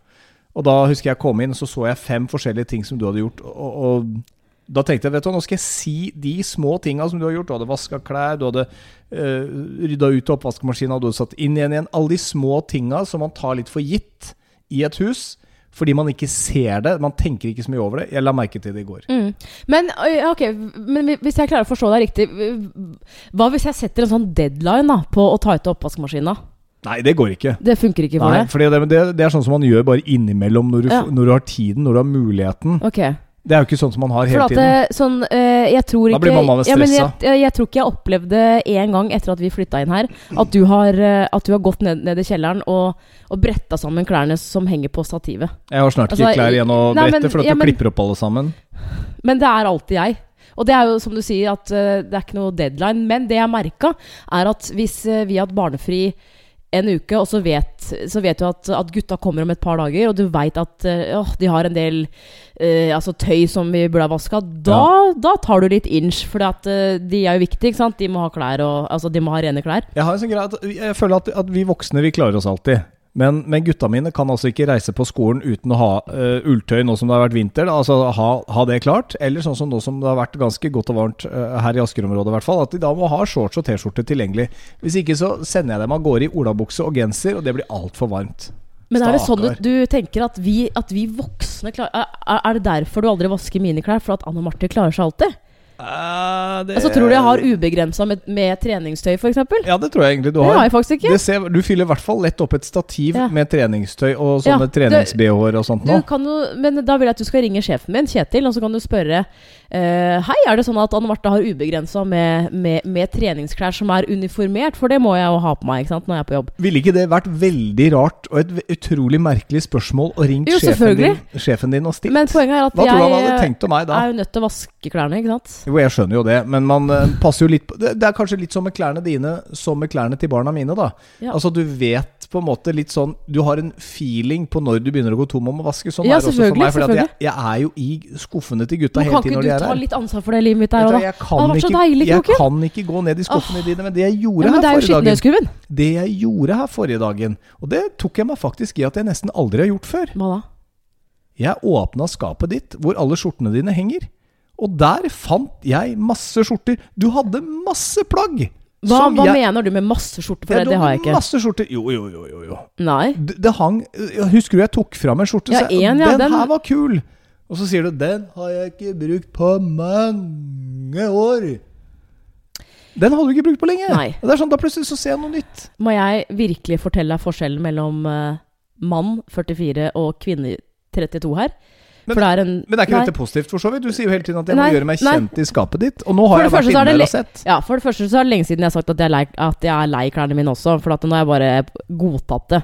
Speaker 1: Og da husker jeg kom inn, og så så jeg fem forskjellige ting som du hadde gjort. Og, og da tenkte jeg vet du, hva, nå skal jeg si de små tinga som du har gjort. Du hadde vaska klær, du hadde uh, rydda ut oppvaskmaskina, du hadde satt inn igjen igjen. Alle de små tinga som man tar litt for gitt i et hus. Fordi man ikke ser det. Man tenker ikke så mye over det. Jeg la merke til det i går.
Speaker 2: Mm. Men, ø, ok, men hvi- hvis jeg klarer å forstå deg riktig hv- Hva hvis jeg setter en sånn deadline da, på å ta ut oppvaskmaskina?
Speaker 1: Nei, det går ikke.
Speaker 2: Det funker ikke for
Speaker 1: Nei,
Speaker 2: deg?
Speaker 1: fordi det, men det, det er sånn som man gjør bare innimellom når du,
Speaker 2: Ja.
Speaker 1: f- når du har tiden, når du har muligheten.
Speaker 2: Ok.
Speaker 1: Det er jo ikke sånn som man har
Speaker 2: For
Speaker 1: hele
Speaker 2: at
Speaker 1: tiden.
Speaker 2: eh, sånn eh, Jeg tror
Speaker 1: Da
Speaker 2: ikke
Speaker 1: blir mamma
Speaker 2: ja, men jeg,
Speaker 1: stressa.
Speaker 2: jeg, jeg tror ikke jeg opplevde en gang etter at vi flytta inn her, at du har, eh, at du har gått ned, ned i kjelleren og, og bretta sammen klærne som henger på stativet.
Speaker 1: Jeg har snart ikke
Speaker 2: altså,
Speaker 1: klær igjen å
Speaker 2: nei, men-
Speaker 1: brette, for at
Speaker 2: ja,
Speaker 1: du
Speaker 2: men-
Speaker 1: klipper opp alle sammen.
Speaker 2: Men det er alltid jeg. Og det er jo som du sier, at eh, det er ikke noe deadline. Men det jeg merka, er at hvis eh, vi har hatt barnefri en uke, og så vet, så vet du at, at gutta kommer om et par dager, og du veit at eh, åh, de har en del eh, altså tøy som vi burde ha vaska, da, da tar du litt inch. For de er jo viktige, ikke sant. De må ha klær og Altså, de må ha rene klær.
Speaker 1: Jeg har en sånn greie at jeg føler at, at vi voksne vi klarer oss alltid. Men, men gutta mine kan altså ikke reise på skolen uten å ha eh, ulltøy nå som det har vært vinter. da. Altså ha, ha det klart. Eller sånn som nå som det har vært ganske godt og varmt eh, her i Asker-området i hvert fall. At de da må ha shorts og T-skjorte tilgjengelig. Hvis ikke så sender jeg dem av gårde i olabukse og genser, og det blir altfor varmt.
Speaker 2: Men er det sånn
Speaker 1: Stakkar.
Speaker 2: at du tenker at vi, at vi voksne klarer er, er det derfor du aldri vasker mine klær? For at Anne Marte klarer seg alltid? Altså, tror du jeg har ubegrensa med, med treningstøy, f.eks.?
Speaker 1: Ja, det tror jeg egentlig du
Speaker 2: Det har
Speaker 1: har.
Speaker 2: jeg faktisk ikke.
Speaker 1: Det ser, du fyller i hvert fall lett opp et stativ
Speaker 2: Ja.
Speaker 1: med treningstøy og
Speaker 2: Ja,
Speaker 1: sånne
Speaker 2: det-
Speaker 1: trenings-BH-er og sånt
Speaker 2: Du
Speaker 1: nå.
Speaker 2: kan jo, men da vil jeg at du skal ringe sjefen min, Kjetil, og så kan du spørre eh, Hei, er det sånn at Anne Marte har ubegrensa med, med, med treningsklær som er uniformert? For det må jeg jo ha på meg ikke sant, når jeg er på jobb.
Speaker 1: Ville ikke det vært veldig rart og et ve- utrolig merkelig spørsmål å ringe
Speaker 2: Jo,
Speaker 1: sjefen
Speaker 2: selvfølgelig.
Speaker 1: din, sjefen din og stilt?
Speaker 2: Men poenget er at
Speaker 1: Hva tror du han
Speaker 2: jeg eh,
Speaker 1: hadde tenkt om meg da?
Speaker 2: er jo nødt til å vaske klærne, ikke sant?
Speaker 1: Jo, jeg skjønner jo det, men man eh, passer jo litt på det, det er kanskje litt som med klærne dine som med klærne til barna mine, da.
Speaker 2: Ja.
Speaker 1: Altså, du vet på en måte litt sånn Du har en feeling på når du begynner å gå tom om å vaske. Sånn
Speaker 2: Ja,
Speaker 1: er det også for meg,
Speaker 2: selvfølgelig,
Speaker 1: fordi at jeg, jeg er jo i skuffene til gutta
Speaker 2: Men
Speaker 1: hele
Speaker 2: kan
Speaker 1: tiden
Speaker 2: ikke
Speaker 1: når
Speaker 2: du
Speaker 1: de er
Speaker 2: ta
Speaker 1: her.
Speaker 2: litt ansvar for det livet mitt
Speaker 1: Vet
Speaker 2: der
Speaker 1: du
Speaker 2: òg,
Speaker 1: hva,
Speaker 2: da?
Speaker 1: jeg
Speaker 2: Det
Speaker 1: kan,
Speaker 2: hadde vært så
Speaker 1: ikke,
Speaker 2: deilig,
Speaker 1: jeg
Speaker 2: Kroken.
Speaker 1: kan ikke gå ned i skuffene dine, men det jeg
Speaker 2: Ja,
Speaker 1: gjorde
Speaker 2: men det
Speaker 1: her
Speaker 2: er jo
Speaker 1: forrige dagen
Speaker 2: skittentøyskurven.
Speaker 1: Det jeg gjorde her forrige dagen, og det tok jeg meg faktisk i at jeg nesten aldri har gjort før.
Speaker 2: Hva da?
Speaker 1: Jeg åpna skapet ditt hvor alle skjortene dine henger. Og der fant jeg masse skjorter. Du hadde masse plagg!
Speaker 2: Hva,
Speaker 1: som
Speaker 2: hva
Speaker 1: jeg-
Speaker 2: mener du med masse skjorte? For
Speaker 1: Ja,
Speaker 2: det,
Speaker 1: du
Speaker 2: det har jeg ikke.
Speaker 1: Masse skjorter. Jo, jo, jo, jo. jo.
Speaker 2: Nei.
Speaker 1: Det, det hang jeg Husker du jeg tok fram en skjorte?
Speaker 2: Ja,
Speaker 1: så jeg,
Speaker 2: en, ja,
Speaker 1: den
Speaker 2: den-
Speaker 1: her var kul! Og så sier du 'Den har jeg ikke brukt på mange år'. Den hadde du ikke brukt på lenge.
Speaker 2: Nei.
Speaker 1: Det er sånn, Da plutselig så ser jeg noe nytt.
Speaker 2: Må jeg virkelig fortelle deg forskjellen mellom eh, mann 44 og kvinne 32 her?
Speaker 1: Men-
Speaker 2: For det er en
Speaker 1: Men det er ikke
Speaker 2: Nei.
Speaker 1: dette positivt, for så vidt. Du sier jo hele tiden at jeg må
Speaker 2: Nei,
Speaker 1: gjøre meg
Speaker 2: nei.
Speaker 1: kjent i skapet ditt. Og nå har
Speaker 2: For
Speaker 1: jeg
Speaker 2: det
Speaker 1: vært
Speaker 2: første så er
Speaker 1: inne
Speaker 2: det
Speaker 1: der
Speaker 2: le-
Speaker 1: og sett.
Speaker 2: Ja, for det første så er det lenge siden jeg har sagt at jeg er lei, at jeg er lei klærne mine også, for at nå har jeg bare godtatt det.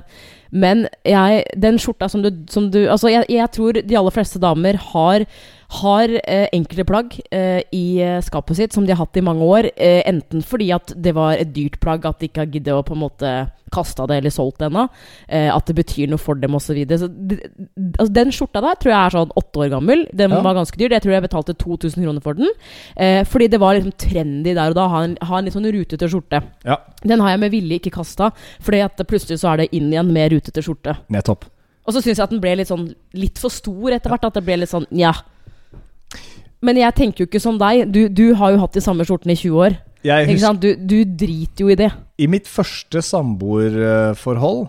Speaker 2: Men jeg, den skjorta som du, som du Altså, jeg, jeg tror de aller fleste damer har, har eh, enkelte plagg eh, i eh, skapet sitt som de har hatt i mange år, eh, enten fordi at det var et dyrt plagg, at de ikke har giddet å på en måte kaste det eller solgt det ennå, eh, at det betyr noe for dem osv. Så videre. så det- altså, den skjorta der tror jeg er sånn åtte år gammel. Den
Speaker 1: Ja.
Speaker 2: var ganske dyr. Jeg tror jeg betalte 2000 kroner for den. Eh, fordi det var liksom trendy der og da å ha en, ha en litt sånn rutete skjorte.
Speaker 1: Ja,
Speaker 2: Den har jeg med vilje ikke kasta, fordi at plutselig så er det inn igjen med rutete skjorte.
Speaker 1: nettopp.
Speaker 2: Og så syns jeg at den ble litt sånn litt for stor etter hvert. At det ble litt sånn nja. Men jeg tenker jo ikke som deg. Du, du har jo hatt de samme skjortene i 20 år.
Speaker 1: Jeg
Speaker 2: Ikke
Speaker 1: husker,
Speaker 2: sant? Du, du driter jo i det.
Speaker 1: I mitt første samboerforhold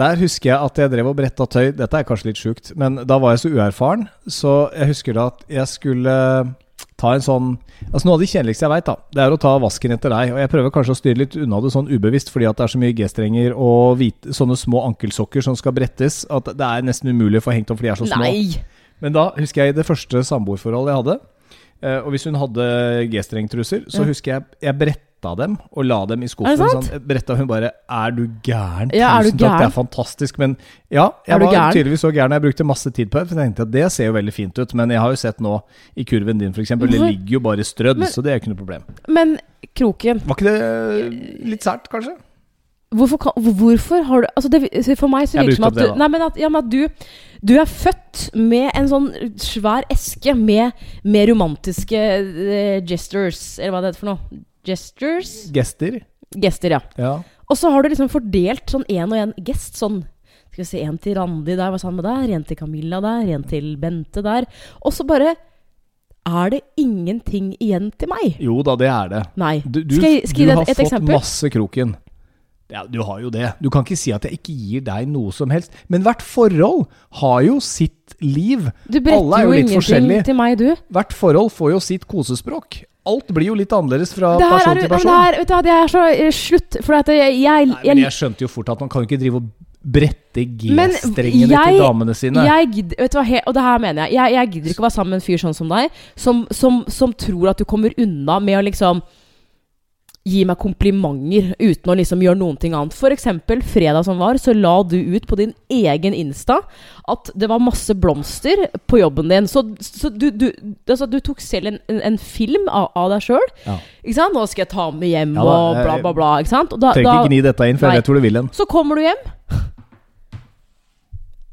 Speaker 1: der husker jeg at jeg drev og bretta tøy. Dette er kanskje litt sjukt, men da var jeg så uerfaren. Så jeg husker da at jeg skulle ta en sånn Altså Noe av det kjedeligste jeg veit, da, det er å ta vasken etter deg. Og jeg prøver kanskje å styre litt unna det sånn ubevisst, fordi at det er så mye G-strenger og hvite, sånne små ankelsokker som skal brettes, at det er nesten umulig å få hengt opp, for de er så små.
Speaker 2: Nei!
Speaker 1: Men da husker jeg i det første samboerforholdet jeg hadde. eh, Og hvis hun hadde G-strengtruser, så
Speaker 2: Ja.
Speaker 1: husker jeg jeg bretta dem og la dem i
Speaker 2: Er
Speaker 1: skuffen.
Speaker 2: det sant?
Speaker 1: Sånn, bretta hun bare 'Er du gæren?
Speaker 2: Ja, er du
Speaker 1: Tusen takk, det
Speaker 2: gæren?»
Speaker 1: er fantastisk.' Men ja, jeg
Speaker 2: Er du
Speaker 1: var
Speaker 2: gæren?
Speaker 1: tydeligvis så gæren. Jeg brukte masse tid på det. For jeg tenkte at det ser jo veldig fint ut, men jeg har jo sett nå i kurven din f.eks. Det
Speaker 2: Hvorfor?
Speaker 1: ligger jo bare strødd,
Speaker 2: Men-
Speaker 1: så det er jo ikke noe problem.
Speaker 2: Men Kroken,
Speaker 1: Var ikke det litt sært, kanskje?
Speaker 2: hvorfor, kan, hvorfor har du altså det, For meg så
Speaker 1: Jeg
Speaker 2: virker det som
Speaker 1: brukte
Speaker 2: at
Speaker 1: opp det,
Speaker 2: du
Speaker 1: da.
Speaker 2: Nei, men at, ja, men at du, du er født med en sånn svær eske med, med romantiske eh, gestures Eller hva det heter for noe? Gestures?
Speaker 1: Gester?
Speaker 2: Gester, ja.
Speaker 1: Ja.
Speaker 2: Og så har du liksom fordelt sånn én og én gest. Sånn Skal vi se, en til Randi der, hva sa han med der? En til Camilla der, en til Bente der. Og så bare er det ingenting igjen til meg.
Speaker 1: Jo da, det er det.
Speaker 2: Nei.
Speaker 1: Du, du,
Speaker 2: skal jeg, skal jeg
Speaker 1: du
Speaker 2: gi
Speaker 1: har
Speaker 2: deg et, et
Speaker 1: fått
Speaker 2: eksempel?
Speaker 1: masse kroken. Ja, du har jo det. Du kan ikke si at jeg ikke gir deg noe som helst. Men hvert forhold har jo sitt liv.
Speaker 2: Du
Speaker 1: Alle
Speaker 2: bretter
Speaker 1: er jo
Speaker 2: jo
Speaker 1: litt
Speaker 2: ingenting
Speaker 1: forskjellige.
Speaker 2: til meg, du.
Speaker 1: Hvert forhold får jo sitt kosespråk. Alt blir jo litt annerledes fra
Speaker 2: Det her
Speaker 1: person
Speaker 2: er,
Speaker 1: til
Speaker 2: men det
Speaker 1: person.
Speaker 2: her, vet du, hva, det er så eh, slutt. For at jeg, jeg,
Speaker 1: Nei,
Speaker 2: jeg,
Speaker 1: men jeg skjønte jo fort at man kan jo ikke drive og brette
Speaker 2: Men
Speaker 1: G-strengene
Speaker 2: jeg-
Speaker 1: til damene sine.
Speaker 2: Jeg gidder, vet du hva, he- og det her mener jeg. jeg. Jeg gidder ikke å være sammen med en fyr sånn som deg, som, som, som tror at du kommer unna med å liksom gi meg komplimenter uten å liksom gjøre noen ting annet. For eksempel fredag som var, så la du ut på din egen Insta at det var masse blomster på jobben din. Så, så du, du, altså, du tok selv en, en, en film av, av deg sjøl.
Speaker 1: Ja.
Speaker 2: Ikke sant? 'Nå skal jeg ta med hjem',
Speaker 1: Ja da,
Speaker 2: og
Speaker 1: jeg-
Speaker 2: bla, bla, bla. Ikke sant? Og da,
Speaker 1: Trenger
Speaker 2: da-
Speaker 1: ikke gni dette inn, for
Speaker 2: Nei.
Speaker 1: jeg vet hvor du vil hen.
Speaker 2: så kommer du hjem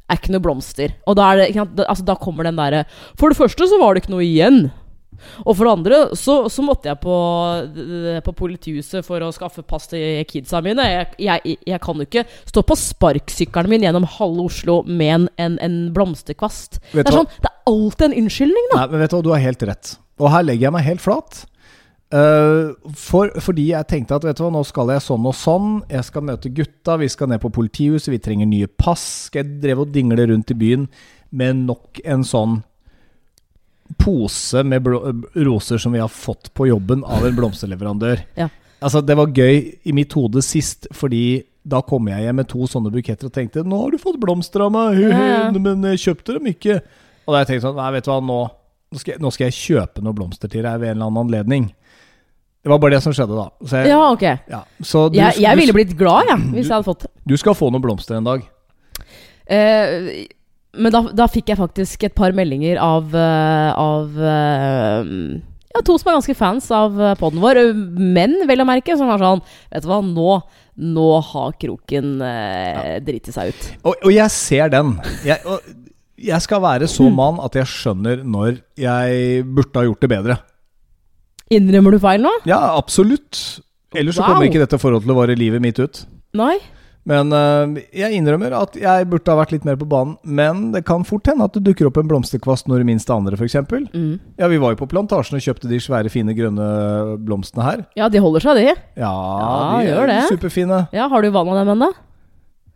Speaker 2: Er ikke noe blomster Og da, er det, ikke sant? da- altså, da kommer den der For det første så var det ikke noe igjen Og for det andre så, så måtte jeg på, på politihuset For å skaffe pass til kidsa mine Jeg, jeg, jeg kan jo ikke stå på sparksykkelen min Gjennom halve Oslo Med en, en, en blomsterkvast
Speaker 1: Vet du
Speaker 2: Det er
Speaker 1: hva?
Speaker 2: sånn, det er alltid en unnskyldning da
Speaker 1: Nei, men vet du hva, du har helt rett. Og her legger jeg meg helt flat. Eh, for, fordi jeg tenkte at vet du hva, nå skal jeg sånn og sånn. Jeg skal møte gutta, vi skal ned på politihuset, vi trenger nye pass. Skal jeg dreve og dingle rundt i byen med nok en sånn pose med blå, eh, roser som vi har fått på jobben av en blomsterleverandør.
Speaker 2: Ja.
Speaker 1: Altså, det var gøy i mitt hode sist, fordi da kom jeg hjem med to sånne buketter og tenkte 'Nå har du fått blomster av meg,
Speaker 2: Ja, ja.
Speaker 1: men jeg kjøpte dem ikke'. Og da har jeg tenkt sånn Nei, vet du hva, nå, nå, skal jeg, nå skal jeg kjøpe noen blomster til deg ved en eller annen anledning. Det var bare det som skjedde, da. Så, jeg,
Speaker 2: Ja, ok
Speaker 1: ja. Så Eh, du,
Speaker 2: jeg, jeg ville
Speaker 1: du,
Speaker 2: blitt glad, jeg, hvis jeg hadde fått det
Speaker 1: du skal få noen blomster en dag.
Speaker 2: Eh, men da, da fikk jeg faktisk et par meldinger av, eh, av eh, ja, to som er ganske fans av eh, podden vår. eh, Menn, vel å merke, som var sånn Vet du hva, nå, nå har kroken eh, driti seg ut.
Speaker 1: Og, og jeg ser den. Jeg, og, jeg skal være så
Speaker 2: Hmm.
Speaker 1: mann at jeg skjønner når jeg burde ha gjort det bedre.
Speaker 2: Innrømmer du feil nå?
Speaker 1: Ja, absolutt. Ellers så
Speaker 2: Wow.
Speaker 1: kommer ikke dette forholdet til å vare livet mitt ut.
Speaker 2: Nei?
Speaker 1: Men eh, jeg innrømmer at jeg burde ha vært litt mer på banen. Men det kan fort hende at det dukker opp en blomsterkvast når du minst aner det, f.eks.
Speaker 2: Mm.
Speaker 1: Ja, vi var jo på plantasjen og kjøpte de svære, fine grønne blomstene her.
Speaker 2: Ja, de holder seg, de.
Speaker 1: Ja,
Speaker 2: Ja,
Speaker 1: de
Speaker 2: gjør
Speaker 1: er
Speaker 2: det.
Speaker 1: superfine.
Speaker 2: Ja, Har du vanna dem ennå?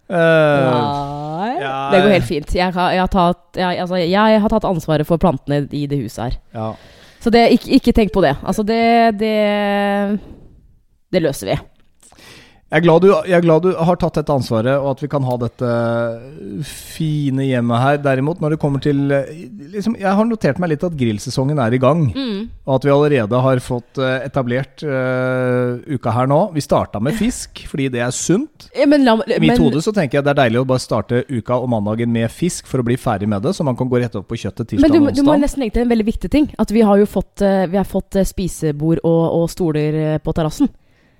Speaker 1: Eh,
Speaker 2: Nei.
Speaker 1: ja.
Speaker 2: Det går helt fint. Jeg, har- jeg, har tatt, jeg, altså, jeg har tatt ansvaret for plantene i det huset her.
Speaker 1: ja.
Speaker 2: Så det, ikke, ikke tenk på det. Altså, det Det, det løser vi.
Speaker 1: Jeg, er glad du, jeg er glad du har tatt dette ansvaret, og at vi kan ha dette fine hjemmet her. Derimot, når det kommer til eh, liksom, Jeg har notert meg litt at grillsesongen er i gang.
Speaker 2: Mm.
Speaker 1: Og at vi allerede har fått eh, etablert eh, uka her nå. Vi starta med fisk, fordi det er sunt.
Speaker 2: Ja, Men la,
Speaker 1: I mitt hode så tenker jeg det er deilig å bare starte uka og mandagen med fisk for å bli ferdig med det, så man kan gå rett opp på kjøttet tirsdag
Speaker 2: men du,
Speaker 1: og
Speaker 2: du må
Speaker 1: onsdag.
Speaker 2: nesten legge til en veldig viktig ting. At vi har jo fått, eh, vi har fått eh, spisebord og, og stoler eh, på terrassen.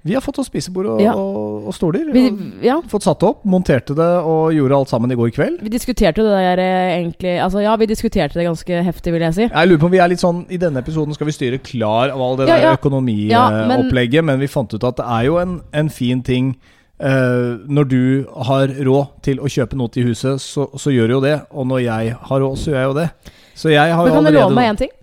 Speaker 1: Vi har fått oss spisebord og,
Speaker 2: Ja.
Speaker 1: og, og stoler.
Speaker 2: Vi,
Speaker 1: og
Speaker 2: ja,
Speaker 1: fått satt opp, monterte det og gjorde alt sammen i går kveld.
Speaker 2: vi diskuterte jo det der eh, egentlig Altså ja, vi diskuterte det ganske heftig, vil jeg si.
Speaker 1: Jeg lurer på om vi er litt sånn, I denne episoden skal vi styre klar av all det
Speaker 2: Ja,
Speaker 1: der
Speaker 2: ja. Ja, men-
Speaker 1: økonomiopplegget, men... vi fant ut at det er jo en, en fin ting eh, Når du har råd til å kjøpe noe til huset, så, så gjør du jo det. Og når jeg har råd, så gjør jeg jo det. Så jeg har
Speaker 2: Men
Speaker 1: jo
Speaker 2: kan du
Speaker 1: allerede
Speaker 2: love meg én ting?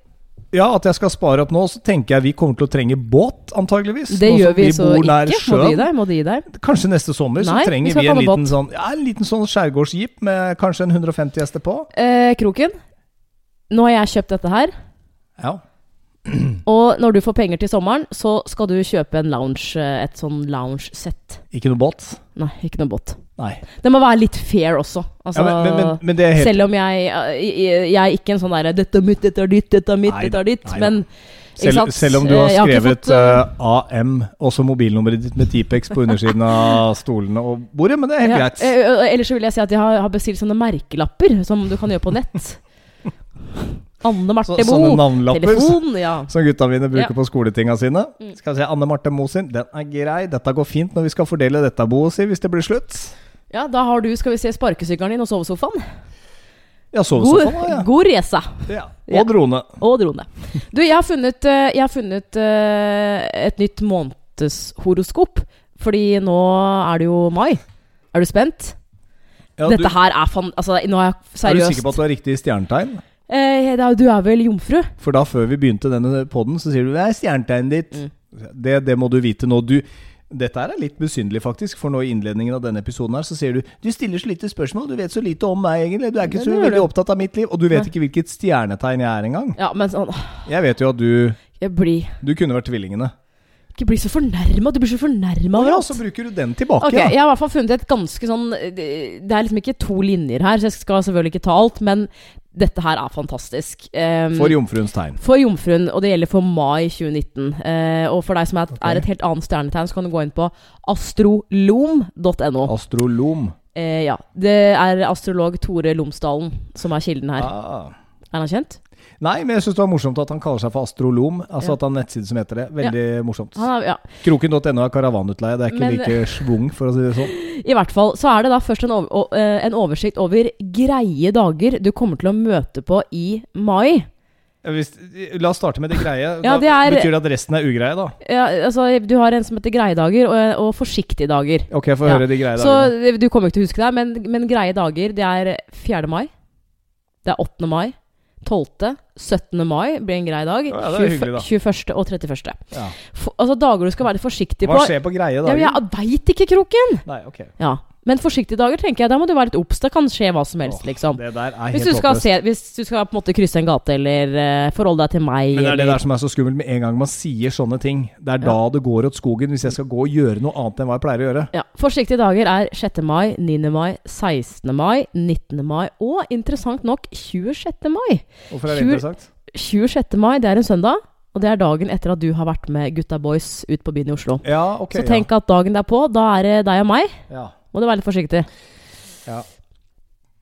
Speaker 1: Ja, at jeg skal spare opp nå, så tenker jeg vi kommer til å trenge båt, antageligvis.
Speaker 2: Det
Speaker 1: Nå som
Speaker 2: gjør vi så
Speaker 1: bor nær
Speaker 2: ikke. Må du gi deg? Må du gi deg?
Speaker 1: Kanskje neste sommer
Speaker 2: Nei,
Speaker 1: så trenger
Speaker 2: vi skal
Speaker 1: vi, en
Speaker 2: ikke ha noe
Speaker 1: liten sånn, ja, en liten sånn skjærgårdsjeep med kanskje en 150 hester på.
Speaker 2: Eh, kroken, nå har jeg kjøpt dette her.
Speaker 1: Ja. Mm.
Speaker 2: Og når du får penger til sommeren, så skal du kjøpe en lounge, eh, et sånn lounge-sett.
Speaker 1: Ikke noe båt.
Speaker 2: Nei, ikke noe båt.
Speaker 1: Nei.
Speaker 2: Det må være litt fair også. Altså,
Speaker 1: Ja, men, men, men, men det er helt
Speaker 2: Selv om jeg, jeg, jeg er ikke en sånn derre 'dette er mitt, dette er ditt, dette er mitt',
Speaker 1: Nei,
Speaker 2: dette er ditt.
Speaker 1: nei,
Speaker 2: Men ikke
Speaker 1: selv,
Speaker 2: sant?
Speaker 1: selv om du har
Speaker 2: Eh, jeg ikke
Speaker 1: skrevet
Speaker 2: fått, eh,
Speaker 1: eh, AM, også mobilnummeret ditt med Tipex på undersiden av stolene og bordet, men det er helt
Speaker 2: ja,
Speaker 1: greit.
Speaker 2: eh, eh, Ellers så vil jeg si at jeg har, har bestilt sånne merkelapper som du kan gjøre på nett. Anne
Speaker 1: Så,
Speaker 2: Marte
Speaker 1: sånne
Speaker 2: Moe.
Speaker 1: navnlapper
Speaker 2: Telefon, ja.
Speaker 1: som gutta mine bruker
Speaker 2: Ja.
Speaker 1: på skoletinga sine.
Speaker 2: Mm.
Speaker 1: Skal vi se, Anne Marte Moe sin, den er grei. Dette går fint når vi skal fordele dette boet, si, hvis det blir slutt.
Speaker 2: ja. Da har du, skal vi se, sparkesykkelen din og sovesofaen.
Speaker 1: Ja,
Speaker 2: God,
Speaker 1: sovesofaen, ja.
Speaker 2: god resa.
Speaker 1: ja.
Speaker 2: Ja.
Speaker 1: Og drone.
Speaker 2: Og drone. Du, jeg har funnet, eh, jeg har funnet eh, et nytt månedshoroskop. Fordi nå er det jo mai. Er du spent?
Speaker 1: Ja,
Speaker 2: Dette her er fan... Altså, nå er jeg
Speaker 1: Er du
Speaker 2: seriøst
Speaker 1: sikker på at du har riktig stjernetegn?
Speaker 2: eh, da, Du er vel jomfru?
Speaker 1: For da før vi begynte denne podden, så sier du det er stjernetegnet ditt.
Speaker 2: Mm.
Speaker 1: Det, det må du vite nå. Du, dette her er litt besynderlig, faktisk. For nå i innledningen av denne episoden her, så sier du du stiller så lite spørsmål, du vet så lite om meg egentlig. Du er ikke så
Speaker 2: Ja, det gjør
Speaker 1: veldig
Speaker 2: du.
Speaker 1: opptatt av mitt liv. Og du vet
Speaker 2: Nei.
Speaker 1: ikke hvilket stjernetegn jeg er engang.
Speaker 2: Ja, men sånn åh,
Speaker 1: Jeg vet jo at du,
Speaker 2: Jeg blir
Speaker 1: du kunne vært tvillingene.
Speaker 2: ikke bli så fornærma. Du blir så fornærma
Speaker 1: Å
Speaker 2: over
Speaker 1: ja,
Speaker 2: alt.
Speaker 1: så bruker du den tilbake,
Speaker 2: Ok, Jeg har i hvert fall funnet et ganske sånn Det det er liksom ikke to linjer her, så jeg skal selvfølgelig ikke ta alt, men dette her er fantastisk. Um,
Speaker 1: ja. For jomfruens tegn.
Speaker 2: for Jomfruen, og det gjelder for mai 2019. Eh, og for deg som er,
Speaker 1: Ok.
Speaker 2: er et helt annet stjernetegn, så kan du gå inn på astrolom.no.
Speaker 1: Astrolom.
Speaker 2: Eh, ja, Det er astrolog Tore Lomsdalen som er kilden her.
Speaker 1: Ah.
Speaker 2: Er han kjent?
Speaker 1: Nei, men jeg syns det var morsomt at han kaller seg for astrolom. Altså
Speaker 2: Ja.
Speaker 1: at han har en nettside som heter det. Veldig morsomt.
Speaker 2: Han er, ja.
Speaker 1: Kroken.no er karavanutleie. Det er ikke
Speaker 2: Men-
Speaker 1: like schwung, for å si det sånn.
Speaker 2: I hvert fall så er det da først en, over, å- eh, en oversikt over greie dager du kommer til å møte på i mai.
Speaker 1: Ja, Hvis, la oss starte med det greie. Da
Speaker 2: Ja, det er-
Speaker 1: Betyr det at resten er ugreie, da?
Speaker 2: Ja, altså, du har en som heter greie dager, og, og forsiktige dager.
Speaker 1: Ok, få
Speaker 2: Ja.
Speaker 1: høre de greie
Speaker 2: Så eh,
Speaker 1: dagene.
Speaker 2: du kommer ikke til å huske det, men, men greie dager, det er 4. mai. Det er 8. mai. 12. 17. mai blir en grei dag.
Speaker 1: Ja, ja, det er hyggelig, da.
Speaker 2: 21. og 31.
Speaker 1: Ja.
Speaker 2: For, altså dager du skal være litt forsiktig
Speaker 1: Hva
Speaker 2: på.
Speaker 1: skjer på greie
Speaker 2: Ja, men
Speaker 1: dager?
Speaker 2: jeg veit ikke, Kroken!
Speaker 1: Nei, ok.
Speaker 2: Ja. Men forsiktige dager, tenker jeg. Da må du være litt obs. Det kan skje hva som helst,
Speaker 1: Åh,
Speaker 2: liksom.
Speaker 1: Det der er
Speaker 2: Hvis du,
Speaker 1: helt
Speaker 2: skal
Speaker 1: håpløst.
Speaker 2: se, hvis du skal på en måte krysse en gate, eller eh, forholde deg til meg,
Speaker 1: Men det er det
Speaker 2: eller
Speaker 1: der som er så skummelt med en gang man sier sånne ting. Det er da det går åt skogen, hvis jeg skal gå og gjøre noe annet enn hva jeg pleier å gjøre.
Speaker 2: Ja, Forsiktige dager er 6. mai, 9. mai, 16. mai, 19. mai og interessant nok 26. mai.
Speaker 1: Hvorfor er det
Speaker 2: Tjur-
Speaker 1: interessant?
Speaker 2: 26. mai det er en søndag, og det er dagen etter at du har vært med gutta boys ut på byen i Oslo.
Speaker 1: Ja, ok.
Speaker 2: Så tenk at dagen derpå, da er det deg og meg.
Speaker 1: ja.
Speaker 2: Må du være litt forsiktig.
Speaker 1: Ja.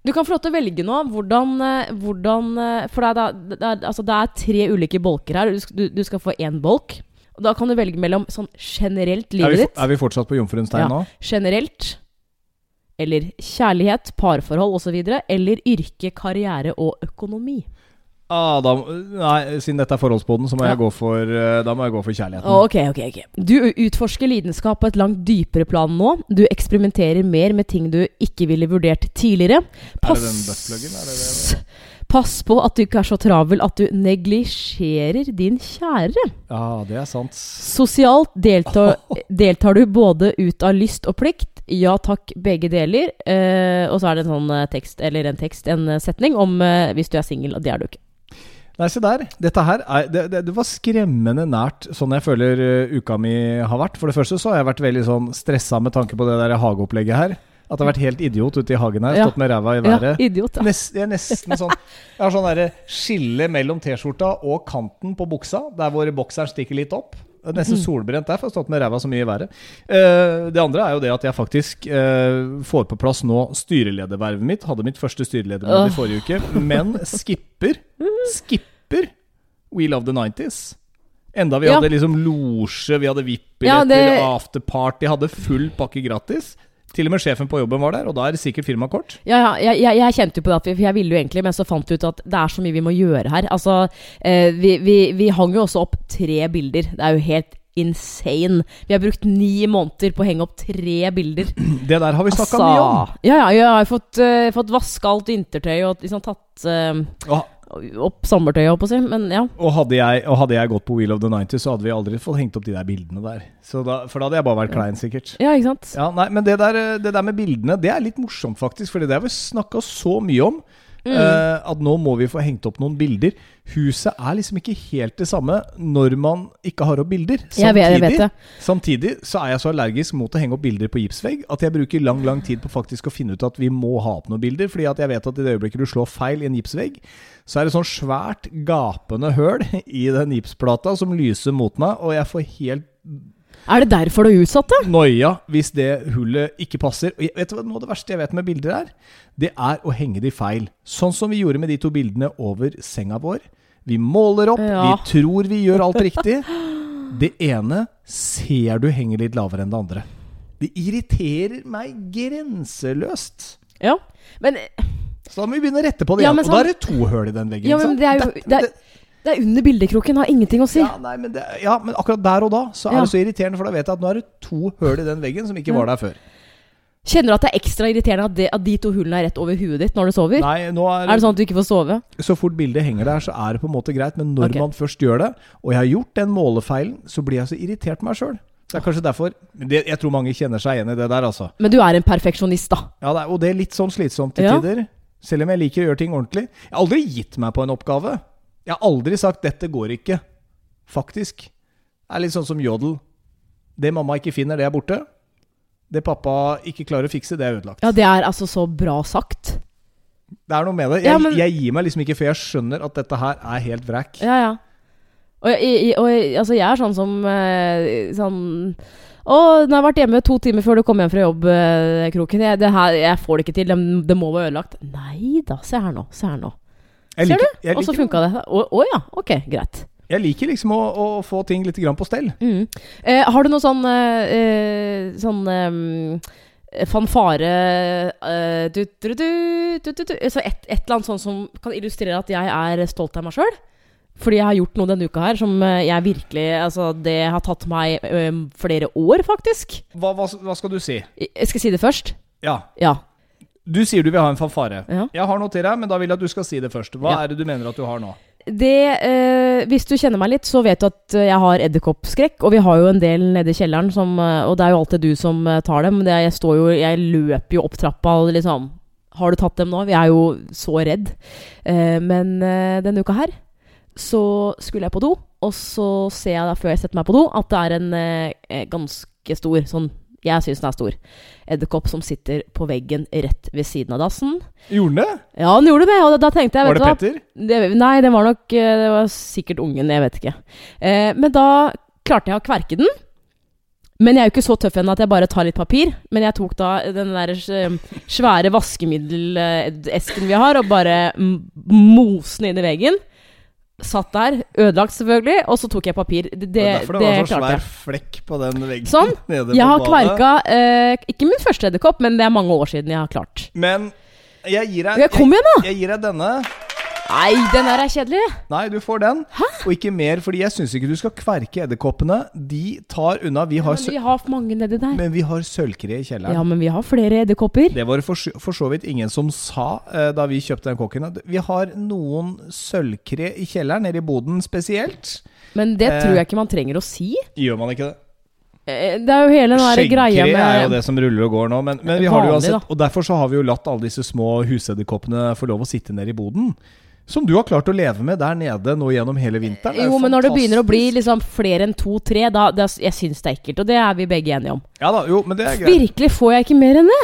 Speaker 2: Du kan få lov til å velge nå hvordan, eh, hvordan eh, For det er, da, det, er, altså det er tre ulike bolker her. Du skal, du, du skal få én bolk. Og da kan du velge mellom sånn generelt
Speaker 1: Er,
Speaker 2: livet
Speaker 1: vi,
Speaker 2: ditt.
Speaker 1: er vi fortsatt på Jomfruens tegn
Speaker 2: Ja.
Speaker 1: nå?
Speaker 2: generelt, eller kjærlighet, parforhold osv., eller yrke, karriere og økonomi.
Speaker 1: Ah, da, nei, siden dette er forholdsboden, så må
Speaker 2: Ja.
Speaker 1: jeg gå for, eh, da må jeg gå for kjærligheten.
Speaker 2: Ok, ok, ok. Du utforsker lidenskap på et langt dypere plan nå. Du eksperimenterer mer med ting du ikke ville vurdert tidligere.
Speaker 1: Er det den buttpluggen, er det det?
Speaker 2: Pass på at du ikke er så travel at du neglisjerer din kjære.
Speaker 1: Ja, det er sant.
Speaker 2: Sosialt deltar, deltar du både ut av lyst og plikt. Ja takk, begge deler. Eh, og så er det en sånn eh, tekst, eller en tekst, en eh, setning om eh, hvis du er singel, og det er du ikke.
Speaker 1: Nei, se der. Dette her er, det, det, det var skremmende nært sånn jeg føler eh, uka mi har vært. For det første så har jeg vært veldig sånn stressa med tanke på det der hageopplegget her. At jeg har vært helt idiot ute i hagen her,
Speaker 2: Ja.
Speaker 1: stått med ræva i
Speaker 2: Ja,
Speaker 1: været.
Speaker 2: idiot. Ja.
Speaker 1: Nest, jeg er nesten sånn Jeg har sånn derre skille mellom T-skjorta og kanten på buksa, der hvor bokseren stikker litt opp. Jeg er
Speaker 2: Mm.
Speaker 1: Nesten solbrent der, for jeg har stått med ræva så mye i været. Eh, det andre er jo det at jeg faktisk eh, får på plass nå styreledervervet mitt. Hadde mitt første styrelederverv i forrige uke, men skipper Skipper We Love The 90s. Enda vi
Speaker 2: Ja.
Speaker 1: hadde liksom losje, vi hadde
Speaker 2: Ja,
Speaker 1: VIP-billetter,
Speaker 2: det-
Speaker 1: afterparty, hadde full pakke gratis. Til og med sjefen på jobben var der, og da er det sikkert firmakort.
Speaker 2: Ja, ja, jeg, jeg, jeg kjente jo på det, at vi- for jeg ville jo egentlig, men så fant vi ut at det er så mye vi må gjøre her. Altså, eh, vi, vi, vi hang jo også opp tre bilder. Det er jo helt insane. Vi har brukt ni måneder på å henge opp tre bilder.
Speaker 1: Det der har vi snakka mye om.
Speaker 2: Altså, ja, ja, jeg har jo fått, uh, fått vaska alt vintertøyet og liksom tatt eh,
Speaker 1: Og,
Speaker 2: opp sommertøyet, holdt på å si. Men ja.
Speaker 1: og, hadde jeg, og hadde jeg gått på Wheel of the 90s, så hadde vi aldri fått hengt opp de der bildene der. Så da, for da hadde jeg bare vært klein, sikkert.
Speaker 2: ja, ikke sant?
Speaker 1: Ja, nei, Men det der, det der med bildene, det er litt morsomt, faktisk. For det har vi snakka så mye om.
Speaker 2: Mm.
Speaker 1: eh, at nå må vi få hengt opp noen bilder. Huset er liksom ikke helt det samme når man ikke har opp bilder.
Speaker 2: Jeg vet- jeg vet det.
Speaker 1: samtidig så er jeg så allergisk mot å henge opp bilder på gipsvegg at jeg bruker lang lang tid på faktisk å finne ut at vi må ha opp noen bilder. Fordi at jeg vet at i det øyeblikket du slår feil i en gipsvegg, så er det sånn svært gapende høl i den gipsplata som lyser mot meg, og jeg får helt
Speaker 2: Er det derfor du er utsatt, da?
Speaker 1: noia hvis det hullet ikke passer. Og jeg, vet du hva noe av det verste jeg vet med bilder er? Det er å henge de feil. Sånn som vi gjorde med de to bildene over senga vår. Vi måler opp,
Speaker 2: Ja.
Speaker 1: vi tror vi gjør alt riktig. Det ene ser du henger litt lavere enn det andre. Det irriterer meg grenseløst.
Speaker 2: Ja. Men, eh,
Speaker 1: Så da må vi begynne å rette på det.
Speaker 2: Ja,
Speaker 1: igjen.
Speaker 2: men
Speaker 1: og da
Speaker 2: sant-
Speaker 1: er det to høl i den veggen.
Speaker 2: ja,
Speaker 1: ikke
Speaker 2: men
Speaker 1: sant?
Speaker 2: det er jo
Speaker 1: Det-
Speaker 2: Det er, det er under bildekroken, har ingenting å si.
Speaker 1: ja, nei, men det, ja, men akkurat der og da så er
Speaker 2: Ja.
Speaker 1: det så irriterende, for da vet jeg at nå er det to høl i den veggen som ikke
Speaker 2: Ja.
Speaker 1: var der før.
Speaker 2: Kjenner du at det er ekstra irriterende at, det, at de to hullene er rett over huet ditt når du sover?
Speaker 1: Nei, nå
Speaker 2: Er det sånn at du ikke får sove?
Speaker 1: så fort bildet henger der, så er det på en måte greit. Men når
Speaker 2: Ok.
Speaker 1: man først gjør det, og jeg har gjort den målefeilen, så blir jeg så irritert meg sjøl. Det er kanskje derfor men det, Jeg tror mange kjenner seg igjen i det der, altså.
Speaker 2: Men du er en perfeksjonist, da.
Speaker 1: Ja, det er, og det er litt sånn slitsomt til
Speaker 2: Ja.
Speaker 1: tider. Selv om jeg liker å gjøre ting ordentlig. Jeg har aldri gitt meg på en oppgave. Jeg har aldri sagt 'dette går ikke'. Faktisk. Det er litt sånn som jodel. Det mamma ikke finner, det er borte. Det pappa ikke klarer å fikse, det er ødelagt.
Speaker 2: Ja, det er altså så bra sagt.
Speaker 1: Det er noe med det. Jeg,
Speaker 2: Ja, men-
Speaker 1: jeg gir meg liksom ikke, for jeg skjønner at dette her er helt vræk.
Speaker 2: Ja, ja. Og jeg, jeg, og jeg, altså jeg er sånn som eh, sånn Å, nå har jeg vært hjemme to timer før du kom hjem fra jobb, eh, Kroken. Jeg, det her, jeg får det ikke til. Det, det må være ødelagt. Nei da, se her nå. Se her nå.
Speaker 1: Jeg
Speaker 2: Ser
Speaker 1: liker, jeg
Speaker 2: Og så
Speaker 1: liker,
Speaker 2: funka det. Å å ja, ok, greit.
Speaker 1: jeg liker liksom å, å få ting litt grann på stell.
Speaker 2: Mm. Eh, har du noe sånn eh, eh, Sånn eh, fanfare eh, du, du, du, du, du, du, Så et, et eller annet sånn som kan illustrere at jeg er stolt av meg sjøl? Fordi jeg har gjort noe denne uka her som eh, jeg virkelig Altså, det har tatt meg eh, flere år, faktisk.
Speaker 1: Hva, hva, hva skal du si?
Speaker 2: Jeg skal si det først.
Speaker 1: Ja,
Speaker 2: Ja.
Speaker 1: du sier du vil ha en fanfare.
Speaker 2: ja.
Speaker 1: Jeg har notert her, men da vil jeg at du skal si det først. Hva
Speaker 2: Ja.
Speaker 1: er det du mener at du har nå?
Speaker 2: det eh, Hvis du kjenner meg litt, så vet du at eh, jeg har edderkoppskrekk. Og vi har jo en del nede i kjelleren, som, eh, og det er jo alltid du som eh, tar dem. Det, er- jeg, står jo, jeg løper jo opp trappa og liksom Har du tatt dem nå? Vi er jo så redd. Eh, men eh, denne uka her så skulle jeg på do, og så ser jeg da før jeg setter meg på do, at det er en eh, eh, ganske stor sånn jeg syns den er stor. Edderkopp som sitter på veggen rett ved siden av dassen.
Speaker 1: Gjorde den det?
Speaker 2: Ja, den gjorde det! Og da, da tenkte jeg vet
Speaker 1: Var
Speaker 2: du
Speaker 1: det
Speaker 2: hva?
Speaker 1: Petter?
Speaker 2: det, Nei, det var nok eh, Det var sikkert ungen, jeg vet ikke. Eh, men da klarte jeg å kverke den. Men jeg er jo ikke så tøff ennå at jeg bare tar litt papir. Men jeg tok da den der eh, svære vaskemiddelesken vi har, og bare mm, mos den inn i veggen. Satt der, ødelagt selvfølgelig, og så tok jeg papir.
Speaker 1: Det
Speaker 2: Det, det,
Speaker 1: er derfor det, var en sånn
Speaker 2: klarte jeg.
Speaker 1: svær flekk på den veggen
Speaker 2: Sånn.
Speaker 1: nede
Speaker 2: Jeg
Speaker 1: på
Speaker 2: har
Speaker 1: badet.
Speaker 2: kverka eh, ikke min første edderkopp, men det er mange år siden jeg har klart.
Speaker 1: Men jeg gir deg
Speaker 2: Ja, Kom igjen, da!
Speaker 1: jeg, jeg gir deg denne.
Speaker 2: Nei, den der er kjedelig.
Speaker 1: Nei, du får den. Og ikke mer, fordi jeg syns ikke du skal kverke edderkoppene. De tar unna. Vi har,
Speaker 2: Men
Speaker 1: sø
Speaker 2: vi har mange nedi der.
Speaker 1: men vi har sølvkre i kjelleren.
Speaker 2: Ja, men vi har flere edderkopper.
Speaker 1: Det var det for, så- for så vidt ingen som sa eh, da vi kjøpte den kokken. at Vi har noen sølvkre i kjelleren, nede i boden spesielt.
Speaker 2: Men det
Speaker 1: Eh.
Speaker 2: tror jeg ikke man trenger å si.
Speaker 1: Gjør man ikke det?
Speaker 2: Eh, Det er jo hele den der
Speaker 1: Skjeggkre er
Speaker 2: greia
Speaker 1: jo
Speaker 2: med
Speaker 1: det som ruller og går nå, men, men vi har det
Speaker 2: Vanlig,
Speaker 1: uansett. Og derfor så har vi jo latt alle disse små husedderkoppene få lov å sitte nede i boden. Som du har klart å leve med der nede nå gjennom hele vinteren. Det er
Speaker 2: Jo, men når det begynner å bli
Speaker 1: fantastisk.
Speaker 2: liksom flere enn to-tre, da da- Jeg syns det er ekkelt, og det er vi begge enige om.
Speaker 1: Ja da, jo, men det er greit.
Speaker 2: Virkelig får jeg ikke mer enn det!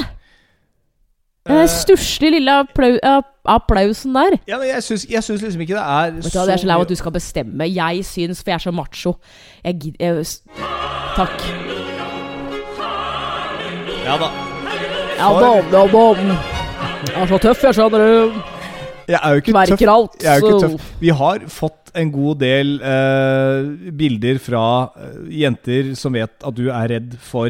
Speaker 2: Den
Speaker 1: Eh,
Speaker 2: stusslige lille applau app- applausen der.
Speaker 1: ja, men jeg syns, jeg syns liksom ikke det er
Speaker 2: Vet du hva, Det er så lei av at
Speaker 1: mye-
Speaker 2: du skal bestemme. Jeg syns, for jeg er så macho. Jeg gidder jeg s- Takk.
Speaker 1: Ja da.
Speaker 2: Ja, dam, dam, dam. Jeg er så tøff, jeg, skjønner du.
Speaker 1: Jeg er jo ikke tøff.
Speaker 2: Kverker alt.
Speaker 1: Jeg er jo ikke
Speaker 2: så-
Speaker 1: tøff. Vi har fått en god del eh, bilder fra eh, jenter som vet at du er redd for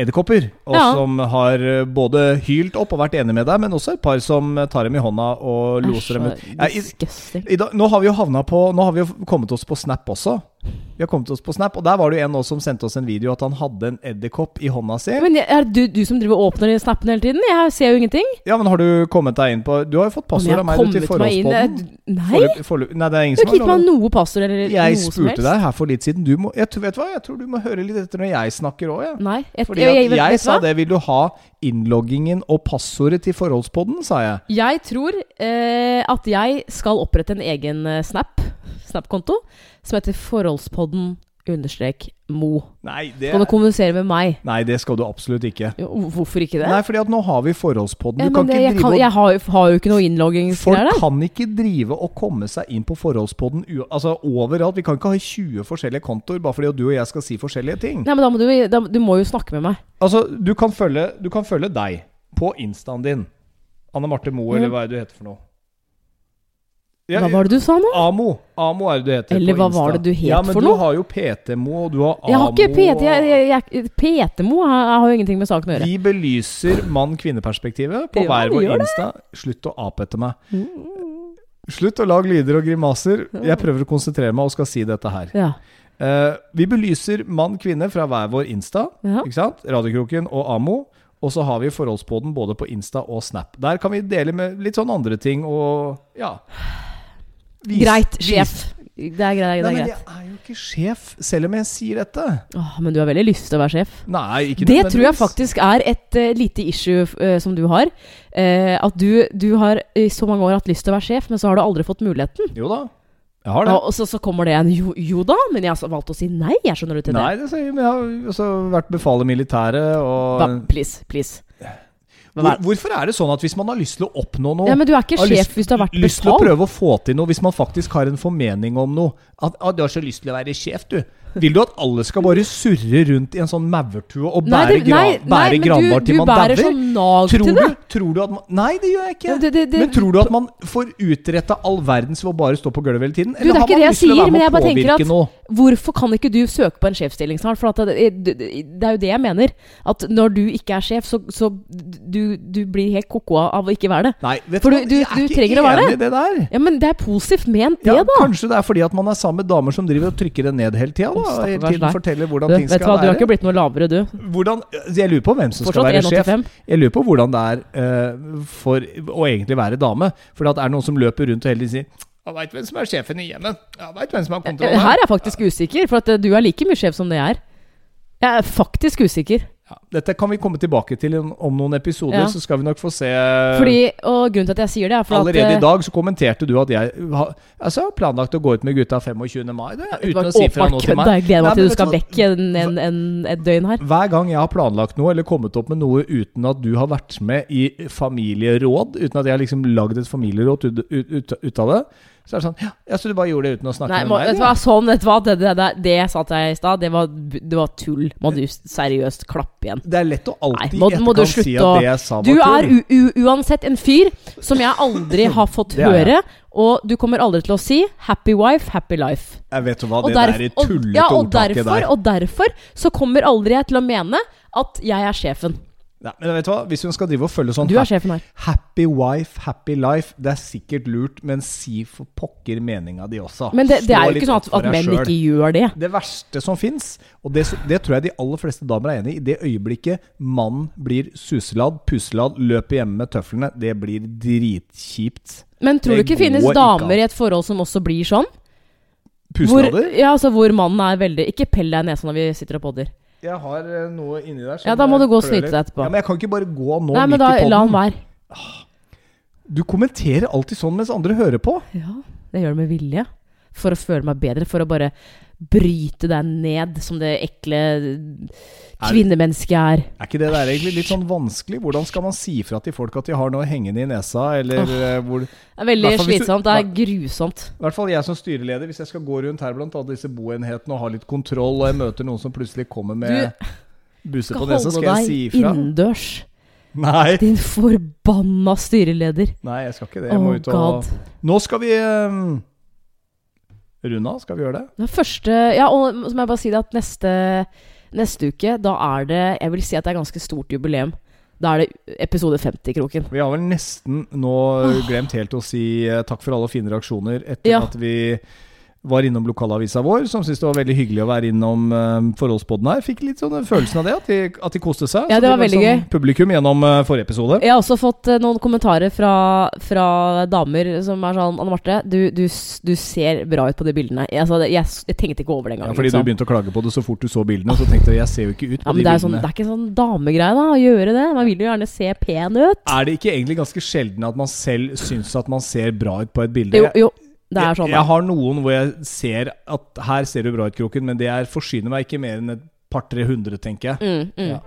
Speaker 1: edderkopper, og
Speaker 2: Ja.
Speaker 1: som har eh, både hylt opp og vært enig med deg, men også et par som eh, tar dem i hånda og loser dem ut.
Speaker 2: Æsj,
Speaker 1: Ja, i,
Speaker 2: så Disgusting.
Speaker 1: i dag, nå har vi jo havna på Nå har vi jo kommet oss på Snap også. Vi har kommet oss på Snap, og der var det jo en nå som sendte oss en video at han hadde en edderkopp i hånda si.
Speaker 2: Men jeg- er det du, du som driver og åpner snappen hele tiden? Jeg ser jo ingenting.
Speaker 1: Ja, men har du kommet deg inn på Du har jo fått
Speaker 2: Om
Speaker 1: passord
Speaker 2: jeg har
Speaker 1: av meg du, til
Speaker 2: kommet meg inn- eh,
Speaker 1: forholdspodden.
Speaker 2: Jeg- Nei,
Speaker 1: Foreløp- foreløp- Nei, det er ingen
Speaker 2: du har
Speaker 1: som
Speaker 2: ikke
Speaker 1: har
Speaker 2: gitt
Speaker 1: lov-
Speaker 2: meg noe passord eller
Speaker 1: Jeg
Speaker 2: Eh, noe som helst.
Speaker 1: spurte deg her for litt siden. Du må, jeg, tror- vet du hva? jeg tror du må høre litt etter når jeg snakker òg. Ja.
Speaker 2: Nei. Jeg,
Speaker 1: Fordi at jeg,
Speaker 2: vet- vet du
Speaker 1: sa
Speaker 2: hva?
Speaker 1: det. Vil du ha innloggingen og passordet til forholdspodden, sa jeg.
Speaker 2: Jeg tror eh, at jeg skal opprette en egen eh, Snap, Snap-konto, som heter forholdspodden understrek mo.
Speaker 1: Nei, det,
Speaker 2: Kan du kommunisere med meg?
Speaker 1: Nei, det skal du absolutt ikke.
Speaker 2: Jo, Hvorfor ikke det?
Speaker 1: Nei, fordi at nå har vi forholdspodden.
Speaker 2: Ja,
Speaker 1: Du kan
Speaker 2: men det,
Speaker 1: ikke
Speaker 2: jeg, kan,
Speaker 1: drive
Speaker 2: jeg
Speaker 1: og
Speaker 2: har, jo- har jo ikke noe
Speaker 1: Folk
Speaker 2: innloggingsgreier der.
Speaker 1: kan ikke drive og komme seg inn på forholdspodden u- altså, overalt. Vi kan ikke ha 20 forskjellige kontoer bare fordi at du og jeg skal si forskjellige ting.
Speaker 2: Nei, men da må du, da, du må jo snakke med meg.
Speaker 1: Altså, du kan følge, du kan følge deg på instaen din. Anne Marte Moe, eller
Speaker 2: Ja.
Speaker 1: hva er det du heter for noe? Ja,
Speaker 2: Hva var det du sa nå?
Speaker 1: Amo. Amo er det du heter
Speaker 2: Eller
Speaker 1: på
Speaker 2: hva
Speaker 1: Insta.
Speaker 2: var det du het
Speaker 1: ja, men
Speaker 2: for
Speaker 1: Du
Speaker 2: noe?
Speaker 1: har jo PT-mo, og du har Amo.
Speaker 2: Jeg har ikke PT, jeg, jeg, jeg, PT-mo har, har jo ingenting med saken å gjøre.
Speaker 1: Vi belyser mann-kvinne-perspektivet på
Speaker 2: Ja,
Speaker 1: hver
Speaker 2: vi
Speaker 1: vår
Speaker 2: gjør det.
Speaker 1: Insta. Slutt å ape etter meg. Slutt å lage lyder og grimaser. Jeg prøver å konsentrere meg og skal si dette her.
Speaker 2: Ja.
Speaker 1: Eh, vi belyser mann-kvinne fra hver vår Insta.
Speaker 2: Ja.
Speaker 1: Ikke sant? Radiokroken og Amo. Og så har vi forholdspoden både på Insta og Snap. Der kan vi dele med litt sånn andre ting og ja. Vis-
Speaker 2: Greit,
Speaker 1: vis-
Speaker 2: sjef. Det er
Speaker 1: Nei,
Speaker 2: greit. Det er
Speaker 1: men
Speaker 2: greit.
Speaker 1: jeg er jo ikke sjef, selv om jeg sier dette.
Speaker 2: Åh, men du har veldig lyst til å være sjef.
Speaker 1: Nei, ikke
Speaker 2: Det tror jeg
Speaker 1: nødvendigvis.
Speaker 2: faktisk er et eh, lite issue eh, som du har. Eh, at du, du har i så mange år hatt lyst til å være sjef, men så har du aldri fått muligheten.
Speaker 1: Jo da. Jeg har det.
Speaker 2: Og og så, så kommer det en jo, jo da, men jeg har valgt å si nei, jeg skjønner du til
Speaker 1: Nei, det sier jeg, men jeg har også vært befal i militæret
Speaker 2: det.
Speaker 1: og
Speaker 2: Hva, please, please. Hva
Speaker 1: Hvor,
Speaker 2: er det?
Speaker 1: Hvorfor er det sånn at hvis man har lyst til å oppnå noe
Speaker 2: Ja, men du er ikke
Speaker 1: har
Speaker 2: sjef hvis du har vært
Speaker 1: lyst til å
Speaker 2: befal.
Speaker 1: prøve å få til noe, hvis man faktisk har en formening om noe at, ah, 'Du har så lyst til å være sjef, du.' Vil du at alle skal bare surre rundt i en sånn maurtue og
Speaker 2: Nei,
Speaker 1: bære,
Speaker 2: det-
Speaker 1: gra
Speaker 2: nei, nei,
Speaker 1: bære
Speaker 2: men
Speaker 1: granbar
Speaker 2: du-
Speaker 1: til man
Speaker 2: Du bærer
Speaker 1: dauer?
Speaker 2: sånn nag
Speaker 1: Tror
Speaker 2: til det.
Speaker 1: du, tror du at man Nei, det gjør jeg ikke.
Speaker 2: Ja, det- det- det-
Speaker 1: men tror du at man får utretta all verdens ved å bare stå på gulvet hele tiden?
Speaker 2: Du, det er ikke det jeg sier, men jeg bare tenker at
Speaker 1: noe?
Speaker 2: hvorfor kan ikke du søke på en sjefsstilling snart? For at det, det, det er jo det jeg mener. At når du ikke er sjef, så, så du, du blir helt koko av å ikke være det.
Speaker 1: Nei, vet
Speaker 2: For
Speaker 1: du,
Speaker 2: du-
Speaker 1: hva,
Speaker 2: du-
Speaker 1: jeg er
Speaker 2: du
Speaker 1: ikke
Speaker 2: trenger å være
Speaker 1: enig i det der.
Speaker 2: Ja, men det er positivt ment, det,
Speaker 1: Ja,
Speaker 2: da.
Speaker 1: Kanskje det er fordi at man er sammen med damer som driver og trykker det ned hele tida.
Speaker 2: Å,
Speaker 1: da, og Hele
Speaker 2: stakkars
Speaker 1: tiden
Speaker 2: deg.
Speaker 1: forteller
Speaker 2: Du,
Speaker 1: hvordan ting
Speaker 2: vet du
Speaker 1: skal
Speaker 2: hva, du har
Speaker 1: være.
Speaker 2: ikke blitt noe lavere, du.
Speaker 1: Hvordan, altså, jeg lurer på hvem som skal
Speaker 2: Fortsatt
Speaker 1: være sjef.
Speaker 2: 1,85.
Speaker 1: Jeg lurer på hvordan det er eh, for å egentlig være dame. For at det er noen som løper rundt og hele tiden sier jeg veit hvem som er sjefen i hjemmet. Jeg vet hvem som har kontroll
Speaker 2: Eh, Her er jeg faktisk usikker, for at eh, du er like mye sjef som det jeg er. Jeg er faktisk usiker.
Speaker 1: Ja, dette kan vi komme tilbake til om- om noen episoder,
Speaker 2: Ja.
Speaker 1: så skal vi nok få se
Speaker 2: Fordi, og grunnen til at jeg sier det, er for
Speaker 1: Allerede i
Speaker 2: at eh,
Speaker 1: dag så kommenterte du at jeg har altså, har planlagt å gå ut med gutta 25. mai, det,
Speaker 2: det var
Speaker 1: uten å si fra
Speaker 2: åpenbart
Speaker 1: noe til
Speaker 2: kødd,
Speaker 1: meg.
Speaker 2: da. Jeg gleder
Speaker 1: Nei,
Speaker 2: meg til
Speaker 1: men
Speaker 2: du
Speaker 1: vet
Speaker 2: skal
Speaker 1: du hva?
Speaker 2: vekk en, en, en, et døgn her.
Speaker 1: Hver gang jeg har planlagt noe eller kommet opp med noe uten at du har vært med i familieråd, uten at jeg har liksom lagd et familieråd ut, ut, ut, ut av det, så er det sånn Ja, ja, så du bare gjorde det uten å snakke
Speaker 2: Nei, må,
Speaker 1: med
Speaker 2: vet du
Speaker 1: meg?
Speaker 2: hva, sånn, vet du hva, det, det, det, det jeg sa til deg i stad, det, var- det var tull. Må du seriøst klappe igjen.
Speaker 1: eller? Det er lett å alltid
Speaker 2: Nei, må-
Speaker 1: i
Speaker 2: må du
Speaker 1: etterkant si
Speaker 2: slutte
Speaker 1: at
Speaker 2: å-
Speaker 1: det jeg sa var
Speaker 2: Du er
Speaker 1: tull.
Speaker 2: u, u, uansett en fyr som jeg aldri har fått
Speaker 1: Det er jeg.
Speaker 2: høre, og du kommer aldri til å si 'happy wife, happy life'.
Speaker 1: Jeg vet hva,
Speaker 2: Og
Speaker 1: det
Speaker 2: derf-
Speaker 1: der
Speaker 2: og-
Speaker 1: tullete
Speaker 2: ja, og
Speaker 1: ordtaket
Speaker 2: derfor,
Speaker 1: der.
Speaker 2: og derfor så kommer aldri jeg til å mene at jeg er sjefen.
Speaker 1: Nei, men vet du hva, hvis hun skal drive og følge sånn
Speaker 2: Du er sjefen her.
Speaker 1: Happy wife, happy life. Det er sikkert lurt, men si for pokker meninga di også.
Speaker 2: Men det, det
Speaker 1: Stå
Speaker 2: er jo
Speaker 1: litt
Speaker 2: ikke sånn
Speaker 1: opp
Speaker 2: at,
Speaker 1: for
Speaker 2: at
Speaker 1: deg
Speaker 2: menn
Speaker 1: selv.
Speaker 2: ikke gjør det.
Speaker 1: Det verste som fins, og det, det tror jeg de aller fleste damer er enig i, i det øyeblikket mannen blir suseladd, puseladd, løper hjemme med tøflene, det blir dritkjipt.
Speaker 2: Men tror du
Speaker 1: Det
Speaker 2: ikke finnes
Speaker 1: går ikke an.
Speaker 2: damer i et forhold som også blir sånn? Hvor,
Speaker 1: Puselader?
Speaker 2: ja, altså hvor mannen er veldig Ikke pell deg i nesa når vi sitter og podder.
Speaker 1: Jeg har eh, noe inni der. som
Speaker 2: Ja, da må
Speaker 1: jeg
Speaker 2: du gå og
Speaker 1: klør
Speaker 2: snyte
Speaker 1: litt.
Speaker 2: deg etterpå.
Speaker 1: Ja, men jeg kan ikke bare gå nå
Speaker 2: Nei, men
Speaker 1: midt
Speaker 2: da
Speaker 1: i
Speaker 2: la han
Speaker 1: podden.
Speaker 2: være.
Speaker 1: Du kommenterer alltid sånn mens andre hører på.
Speaker 2: Ja, det gjør det med vilje. For å føle meg bedre. For å bare bryte deg ned som det ekle kvinnemennesket er.
Speaker 1: Er ikke det der egentlig litt sånn vanskelig? Hvordan skal man si fra til folk at de har noe hengende i nesa, eller eh, hvor
Speaker 2: Det er veldig
Speaker 1: Hvertfall hvis du-
Speaker 2: slitsomt. Det er grusomt.
Speaker 1: I hvert fall jeg som styreleder, hvis jeg skal gå rundt her blant alle disse boenhetene og ha litt kontroll, og jeg møter noen som plutselig kommer med buse på
Speaker 2: Skal
Speaker 1: nesa, skal
Speaker 2: holde
Speaker 1: jeg si
Speaker 2: deg
Speaker 1: ifra?
Speaker 2: innendørs.
Speaker 1: Nei.
Speaker 2: Din forbanna styreleder.
Speaker 1: Nei, jeg skal ikke det. Jeg
Speaker 2: Oh
Speaker 1: må ut og
Speaker 2: god.
Speaker 1: Nå skal vi ehm, runde av, skal vi gjøre det?
Speaker 2: Den første Ja, og så må jeg bare si det at neste, neste uke, da er det Jeg vil si at det er ganske stort jubileum. Da er det episode 50-kroken.
Speaker 1: Vi har vel nesten nå glemt helt å si eh, takk for alle fine reaksjoner etter
Speaker 2: Ja.
Speaker 1: at vi var innom lokalavisa vår, som syntes det var veldig hyggelig å være innom eh, forholdspodden her. Fikk litt sånn følelsen av det, at de, at de koste seg.
Speaker 2: Ja,
Speaker 1: Så
Speaker 2: det var veldig
Speaker 1: sånn Publikum gjennom eh, forrige episode.
Speaker 2: Jeg har også fått eh, noen kommentarer fra, fra damer som er sånn Anne Marte, du, du, s- du ser bra ut på de bildene. Jeg, altså, jeg, s- jeg tenkte ikke over det
Speaker 1: Ja,
Speaker 2: engang.
Speaker 1: fordi du
Speaker 2: liksom.
Speaker 1: begynte å klage på det så fort du så bildene. Så tenkte jeg jeg ser jo ikke ut på
Speaker 2: ja,
Speaker 1: de
Speaker 2: men det, er jo sånn,
Speaker 1: bildene.
Speaker 2: det er ikke sånn damegreie da, å gjøre det. Man vil jo gjerne se pen ut.
Speaker 1: er det ikke egentlig ganske sjelden at man selv syns at man ser bra ut på et bilde?
Speaker 2: Jo, jo det er sånn.
Speaker 1: jeg, jeg
Speaker 2: Da.
Speaker 1: har noen hvor jeg ser at her ser du bra ut, Kroken, men det er forsyner meg ikke mer enn et par-tre hundre, tenker jeg.
Speaker 2: Mm, mm.
Speaker 1: Ja.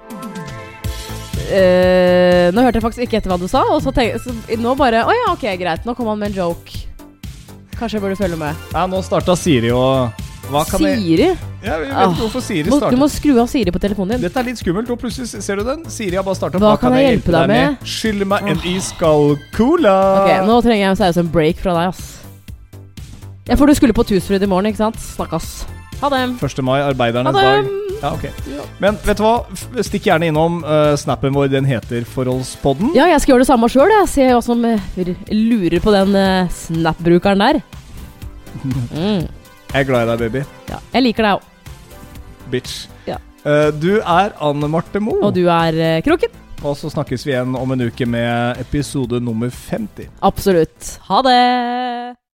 Speaker 2: Eh, nå hørte jeg faktisk ikke etter hva du sa, og så, tenk, så nå bare Å ja, ok, greit. Nå kom han med en joke. Kanskje jeg burde følge med.
Speaker 1: Nei, nå starta Siri og Hva kan jeg
Speaker 2: Siri?
Speaker 1: Jeg vet ikke hvorfor Siri
Speaker 2: Må, du
Speaker 1: startet.
Speaker 2: må skru av Siri på telefonen din.
Speaker 1: Dette er litt skummelt, og plutselig ser du den. Siri har bare starta.
Speaker 2: Hva kan jeg hjelpe deg med?
Speaker 1: Skyll meg en iskald cola.
Speaker 2: Ok, Nå trenger jeg seriøst en break fra deg, ass. Ja, for du skulle på Tusfryd i morgen, ikke sant? Snakkes. Ha det.
Speaker 1: 1. mai, arbeidernes
Speaker 2: Ha det.
Speaker 1: dag. Ja, ok. Men vet du hva? F- Stikk gjerne innom eh, snappen vår. Den heter Forholdspodden.
Speaker 2: Ja, jeg skal gjøre det samme sjøl. Jeg ser hva som eh, lurer på den eh, Snap-brukeren der. Mm.
Speaker 1: Jeg er glad i deg, baby.
Speaker 2: Ja, jeg liker deg òg.
Speaker 1: Bitch.
Speaker 2: Ja.
Speaker 1: Eh, du er Anne Marte Moe.
Speaker 2: Og du er eh, kroken.
Speaker 1: Og så snakkes vi igjen om en uke med episode nummer 50.
Speaker 2: Absolutt. Ha det.